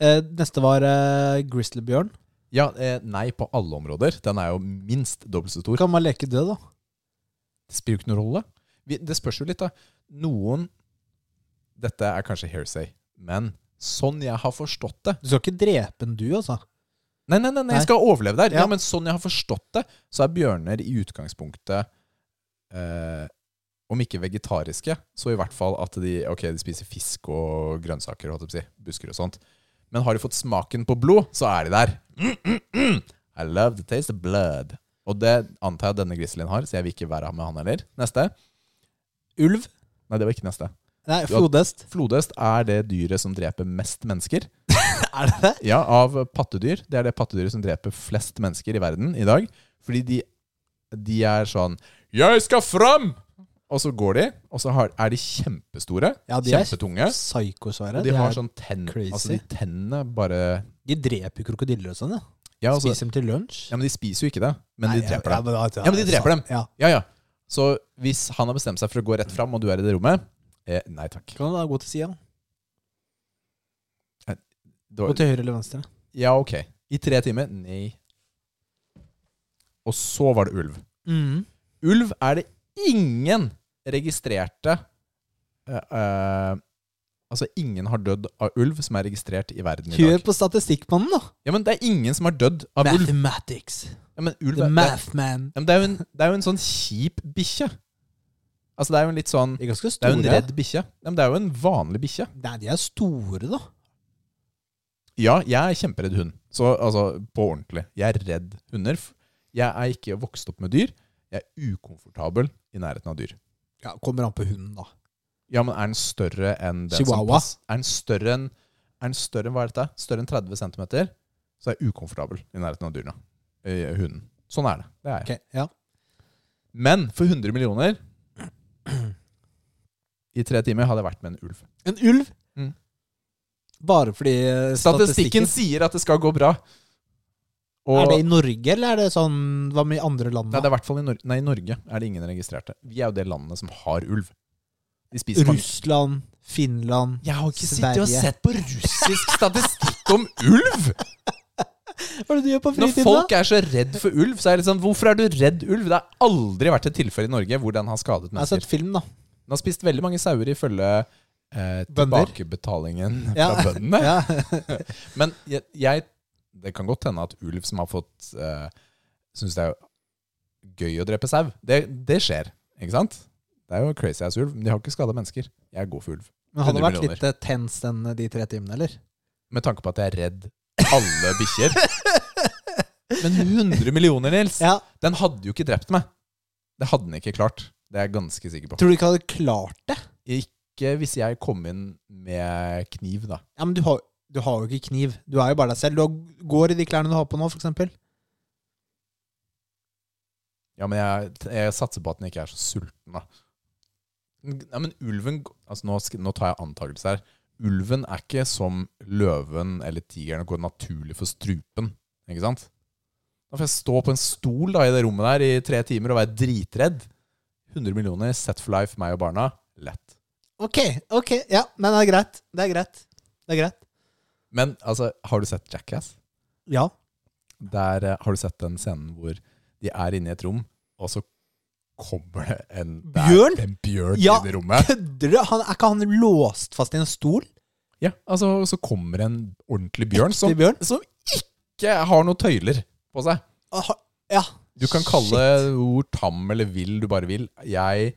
Speaker 1: Eh, neste var uh, grizzlybjørn.
Speaker 2: Ja, eh, nei på alle områder. Den er jo minst dobbelt så stor.
Speaker 1: Kan man leke død, da?
Speaker 2: Det spiller jo ikke noen rolle. Vi, det spørs jo litt, da. Noen Dette er kanskje hearsay, men sånn jeg har forstått det
Speaker 1: Du skal ikke drepe en du, altså.
Speaker 2: Nei, nei, nei, nei. jeg
Speaker 1: Nei.
Speaker 2: skal overleve der. Ja.
Speaker 1: Ja.
Speaker 2: men sånn jeg har forstått det, så er bjørner i utgangspunktet eh, Om ikke vegetariske, så i hvert fall at de, ok, de spiser fisk og grønnsaker og si, busker og sånt. Men har de fått smaken på blod, så er de der. Mm, mm, mm. I love the taste of blood. Og det antar jeg denne grizzlyen har, så jeg vil ikke være med han heller. Neste.
Speaker 1: Ulv?
Speaker 2: Nei, det var ikke neste.
Speaker 1: Nei, flodhest.
Speaker 2: Flodhest er det dyret som dreper mest mennesker.
Speaker 1: Er det det?
Speaker 2: Ja, av pattedyr. Det er det pattedyret som dreper flest mennesker i verden i dag. Fordi de, de er sånn 'Jeg skal fram!' Og så går de, og så har, er de kjempestore.
Speaker 1: Ja, de er
Speaker 2: kjempetunge.
Speaker 1: psykosvære.
Speaker 2: Og de har sånn tenn
Speaker 1: crazy.
Speaker 2: Altså, de tennene bare
Speaker 1: de dreper jo krokodiller og sånn, ja.
Speaker 2: ja, altså,
Speaker 1: Spiser dem til lunsj.
Speaker 2: ja, men de spiser jo ikke det. Men
Speaker 1: Nei,
Speaker 2: de dreper det.
Speaker 1: jeg- jeg- jeg-
Speaker 2: Ja, men de dreper dem.
Speaker 1: Ja.
Speaker 2: Ja, ja. Så hvis han har bestemt seg for å gå rett fram, og du er i det rommet eh, Nei takk.
Speaker 1: Kan du da gå til sida?
Speaker 2: Det
Speaker 1: Gå
Speaker 2: var,
Speaker 1: til høyre eller venstre?
Speaker 2: ja, ok. I tre timer? Nei. Og så var det ulv.
Speaker 1: Mm.
Speaker 2: Ulv er det ingen registrerte eh, eh, Altså, ingen har dødd av ulv som er registrert i verden i
Speaker 1: Hør
Speaker 2: dag.
Speaker 1: på statistikkmannen, da!
Speaker 2: Ja, men det er ingen som har dødd av ulv.
Speaker 1: Mathematics.
Speaker 2: Ja, men ulv
Speaker 1: The
Speaker 2: er, det, er-
Speaker 1: Mathman.
Speaker 2: ja, men det, er jo en, det er jo en sånn kjip bikkje. Altså, det er jo en litt sånn
Speaker 1: De er ganske
Speaker 2: Det
Speaker 1: store.
Speaker 2: er jo en redd bikkje. Ja, men det er jo en vanlig bikkje.
Speaker 1: Nei, de er store, da.
Speaker 2: Ja, jeg er kjemperedd hund. Så altså, på ordentlig. Jeg er redd hunder. Jeg er ikke vokst opp med dyr. Jeg er ukomfortabel i nærheten av dyr.
Speaker 1: Ja, kommer an på hunden, da.
Speaker 2: Ja, men er den større enn den som
Speaker 1: Chihuahua.
Speaker 2: pass- Er den større enn er den større enn, hva er dette? Større enn 30 cm, så er jeg ukomfortabel i nærheten av dyrene. Eh, Hunden. Sånn er det. Det er jeg.
Speaker 1: Ok, ja.
Speaker 2: Men for 100 millioner i tre timer hadde jeg vært med en ulv.
Speaker 1: En ulv?
Speaker 2: Mm.
Speaker 1: Bare fordi eh,
Speaker 2: Statistikken sier at det skal gå bra. Og
Speaker 1: Er det i Norge, eller er det sånn Hva med i andre land?
Speaker 2: Nei, det
Speaker 1: da?
Speaker 2: er i hvert fall i Norge. Nei, i Norge er det ingen registrerte. Vi er jo det landet som har ulv. De spiser mange.
Speaker 1: Russland, Finland
Speaker 2: Jeg har
Speaker 1: ikke sittet og sett
Speaker 2: på russisk statistikk om ulv!
Speaker 1: Hva er det du gjør på
Speaker 2: Når
Speaker 1: fritiden,
Speaker 2: folk er så redd for ulv, så er det sånn Hvorfor er du redd ulv? Det har aldri vært et tilfelle i Norge hvor den har skadet
Speaker 1: da? Jeg har
Speaker 2: mennesker.
Speaker 1: sett film, da.
Speaker 2: Den har spist veldig mange sauer ifølge eh,
Speaker 1: Bønder.
Speaker 2: tilbakebetalingen
Speaker 1: Ja.
Speaker 2: fra bøndene.
Speaker 1: Ja.
Speaker 2: Men jeg, jeg Det kan godt hende at ulv som har fått uh, Syns det er gøy å drepe sau. Det, det skjer, ikke sant? Det er jo crazy ass ulv, men de har ikke skada mennesker. Jeg er god for ulv.
Speaker 1: Men hadde det
Speaker 2: 100
Speaker 1: vært litt eh, tenst enn de tre timene, eller?
Speaker 2: Med tanke på at jeg er redd alle bikkjer. Men 100 millioner, Nils!
Speaker 1: Ja.
Speaker 2: Den hadde jo ikke drept meg. Det hadde den ikke klart. Det er jeg ganske sikker på.
Speaker 1: Tror du ikke hadde klart det?
Speaker 2: Ikke hvis jeg kom inn med kniv, da.
Speaker 1: Ja, men du har, du har jo ikke kniv. Du er jo bare deg selv. Du har- går i de klærne du har på nå, for eksempel.
Speaker 2: Ja, men jeg, jeg satser på at den ikke er så sulten, da. Ja, men ulven altså nå, sk- nå tar jeg antakelser her. Ulven er ikke som løven eller tigeren og går naturlig for strupen. Ikke sant? Da får jeg stå på en stol da, i det rommet der i tre timer og være dritredd. 100 millioner, set for life, meg og barna. Lett.
Speaker 1: Ok, ok, ja, men det er greit. Det er greit. Det er greit.
Speaker 2: Men altså, har du sett Jackass?
Speaker 1: Ja.
Speaker 2: Der eh, har du sett den scenen hvor de er inne i et rom, og så kommer det en det er
Speaker 1: Bjørn?
Speaker 2: En bjørn
Speaker 1: Ja.
Speaker 2: i det rommet.
Speaker 1: Kødder du? Han- Er ikke han låst fast i en stol?
Speaker 2: Ja, altså og så kommer en ordentlig bjørn som
Speaker 1: Til Bjørn?
Speaker 2: som ikke har noen tøyler på seg.
Speaker 1: Ah, ha- Ja.
Speaker 2: Du kan kalle
Speaker 1: Shit.
Speaker 2: ord tam eller vill du bare vil. Jeg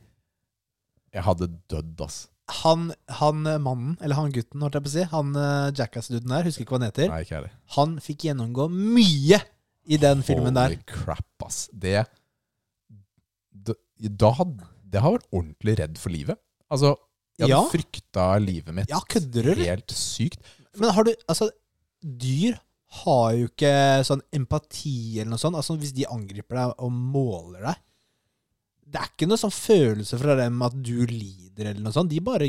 Speaker 2: Jeg hadde dødd, ass.
Speaker 1: han, han eh, mannen, eller han gutten, holdt jeg på å si, han eh, Jackass-duden der, husker ikke hva han heter,
Speaker 2: Nei, ikke heller.
Speaker 1: han fikk gjennomgå mye i den filmen der.
Speaker 2: Holy crap, ass. Det Da, da hadde Det har vært ordentlig redd for livet. Altså, jeg hadde
Speaker 1: Ja.
Speaker 2: frykta livet mitt.
Speaker 1: Ja, kødder du, eller?
Speaker 2: Helt sykt.
Speaker 1: Men har du Altså, dyr har jo ikke sånn empati eller noe sånt. Altså, hvis de angriper deg og måler deg Det er ikke noe sånn følelse fra dem at du lider eller noe sånt. De bare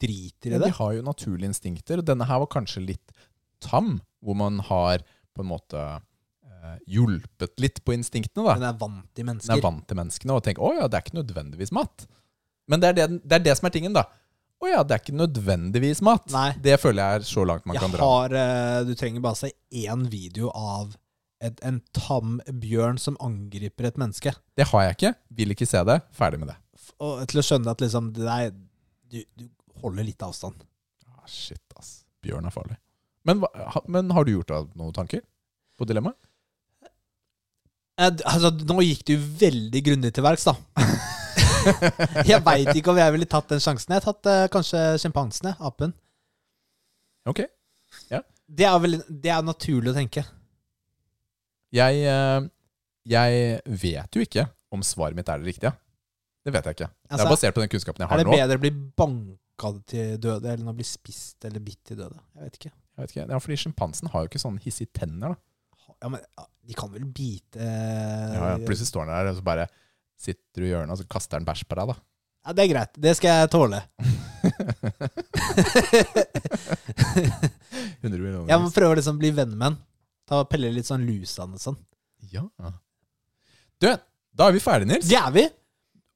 Speaker 1: driter i
Speaker 2: Men
Speaker 1: det.
Speaker 2: de har jo naturlige instinkter. og Denne her var kanskje litt tam, hvor man har på en måte eh, hjulpet litt på instinktene. da.
Speaker 1: Den er vant til
Speaker 2: Den er
Speaker 1: mennesker.
Speaker 2: vant til menneskene og tenker 'Å ja, det er ikke nødvendigvis mat'. Men det er det, den- det, er det som er tingen, da. 'Å ja, det er ikke nødvendigvis mat'.
Speaker 1: Nei.
Speaker 2: Det føler jeg er så langt man kan
Speaker 1: Jeg
Speaker 2: dra.
Speaker 1: har eh, Du trenger bare se én video av et, en tam bjørn som angriper et menneske.
Speaker 2: Det har jeg ikke. Vil ikke se det. Ferdig med det.
Speaker 1: F- Og til å skjønne at liksom Nei, du, du holder litt avstand.
Speaker 2: Ah, shit, ass. Bjørn er farlig. Men, hva- ha, men har du gjort deg noen tanker på dilemmaet?
Speaker 1: Eh, d- altså, nå gikk du veldig grundig til verks, da. Jeg veit ikke om jeg ville tatt den sjansen. Jeg har tatt eh, kanskje sjimpansen, jeg. Apen.
Speaker 2: Ok.
Speaker 1: Det er vel det er naturlig å tenke.
Speaker 2: Jeg, eh, jeg vet jo ikke om svaret mitt er det riktige. Det vet jeg ikke. det
Speaker 1: Altså,
Speaker 2: er basert på den kunnskapen jeg
Speaker 1: Er
Speaker 2: har
Speaker 1: det
Speaker 2: nå.
Speaker 1: bedre å bli banka til døde enn å bli spist eller bitt til døde? Jeg vet ikke.
Speaker 2: Jeg vet ikke. Ja, fordi Sjimpansen har jo ikke sånne hissige tenner. da.
Speaker 1: Ja, men ja, De kan vel bite eh,
Speaker 2: Ja, ja, plutselig står han der, og så bare sitter du i hjørnet, og så kaster han bæsj på deg. da.
Speaker 1: Ja, det er greit. Det skal jeg tåle.
Speaker 2: 100 millioner.
Speaker 1: Jeg må prøve å liksom bli venn med den. Ta og Pelle litt sånn lus av den og sånn.
Speaker 2: Ja. Du, da er vi ferdige, Nils.
Speaker 1: Det er vi!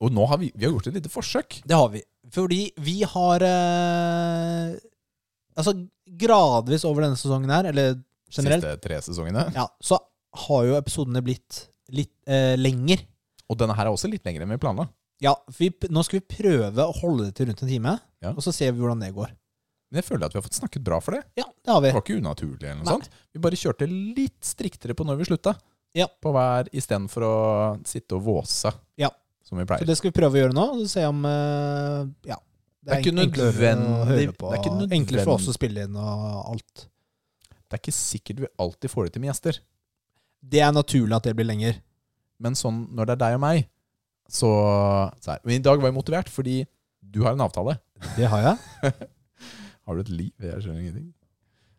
Speaker 2: Og nå har vi, vi har gjort et lite forsøk.
Speaker 1: Det har vi. Fordi vi har eh, Altså, gradvis over denne sesongen her, eller generelt,
Speaker 2: Siste tre sesongene.
Speaker 1: ja, så har jo episodene blitt litt eh, lenger.
Speaker 2: Og denne her er også litt lengre enn vi planla.
Speaker 1: Ja, for vi, p- nå skal vi prøve å holde det til rundt en time,
Speaker 2: Ja.
Speaker 1: og så ser vi hvordan det går.
Speaker 2: Men jeg føler at vi har fått snakket bra for det.
Speaker 1: Ja, det har vi.
Speaker 2: Det var ikke unaturlig. eller noe
Speaker 1: Nei.
Speaker 2: sånt. Vi bare kjørte litt striktere på når vi slutta.
Speaker 1: Ja.
Speaker 2: På hver, Istedenfor å sitte og våse,
Speaker 1: Ja.
Speaker 2: som vi
Speaker 1: Så
Speaker 2: pleier.
Speaker 1: det skal vi prøve å gjøre nå, og se om eh, Ja.
Speaker 2: Det er ikke
Speaker 1: enk- enklere å
Speaker 2: nødvendig-
Speaker 1: høre på.
Speaker 2: det er ikke nødvendig-
Speaker 1: Enklere for oss å spille inn og alt.
Speaker 2: Det er ikke sikkert vi alltid får det til med gjester.
Speaker 1: Det er naturlig at det blir lenger.
Speaker 2: Men sånn, når det er deg og meg, så, så er Men i dag var jeg motivert, fordi du har en avtale.
Speaker 1: Det har jeg.
Speaker 2: Har du et liv? Jeg skjønner ingenting.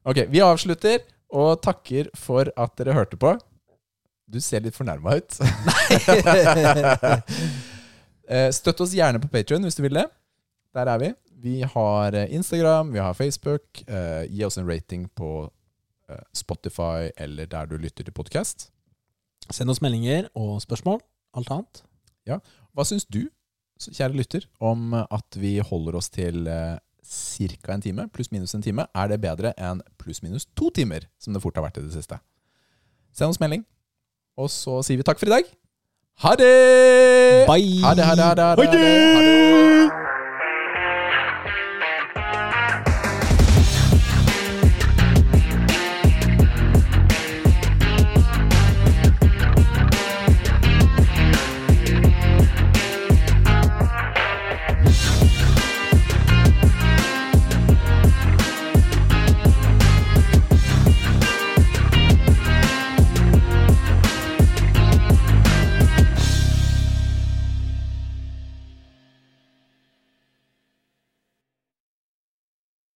Speaker 2: Ok, vi avslutter og takker for at dere hørte på. Du ser litt fornærma ut. Eh, Støtt oss gjerne på Patreon hvis du vil det. Der er vi. Vi har eh, Instagram, vi har Facebook. Eh, Gi oss en rating på eh, Spotify eller der du lytter til podkast.
Speaker 1: Send oss meldinger og spørsmål. Alt annet.
Speaker 2: Hva syns du, s- kjære lytter, om eh, at vi holder oss til ca. en time? Pluss-minus en time. Er det bedre enn pluss-minus to timer, som det fort har vært i det siste? Send oss melding. Og så sier vi takk for i dag. Ha det!
Speaker 1: Bye!
Speaker 2: Ha det, ha det, ha det. Ha
Speaker 1: Ha
Speaker 2: det.
Speaker 1: det!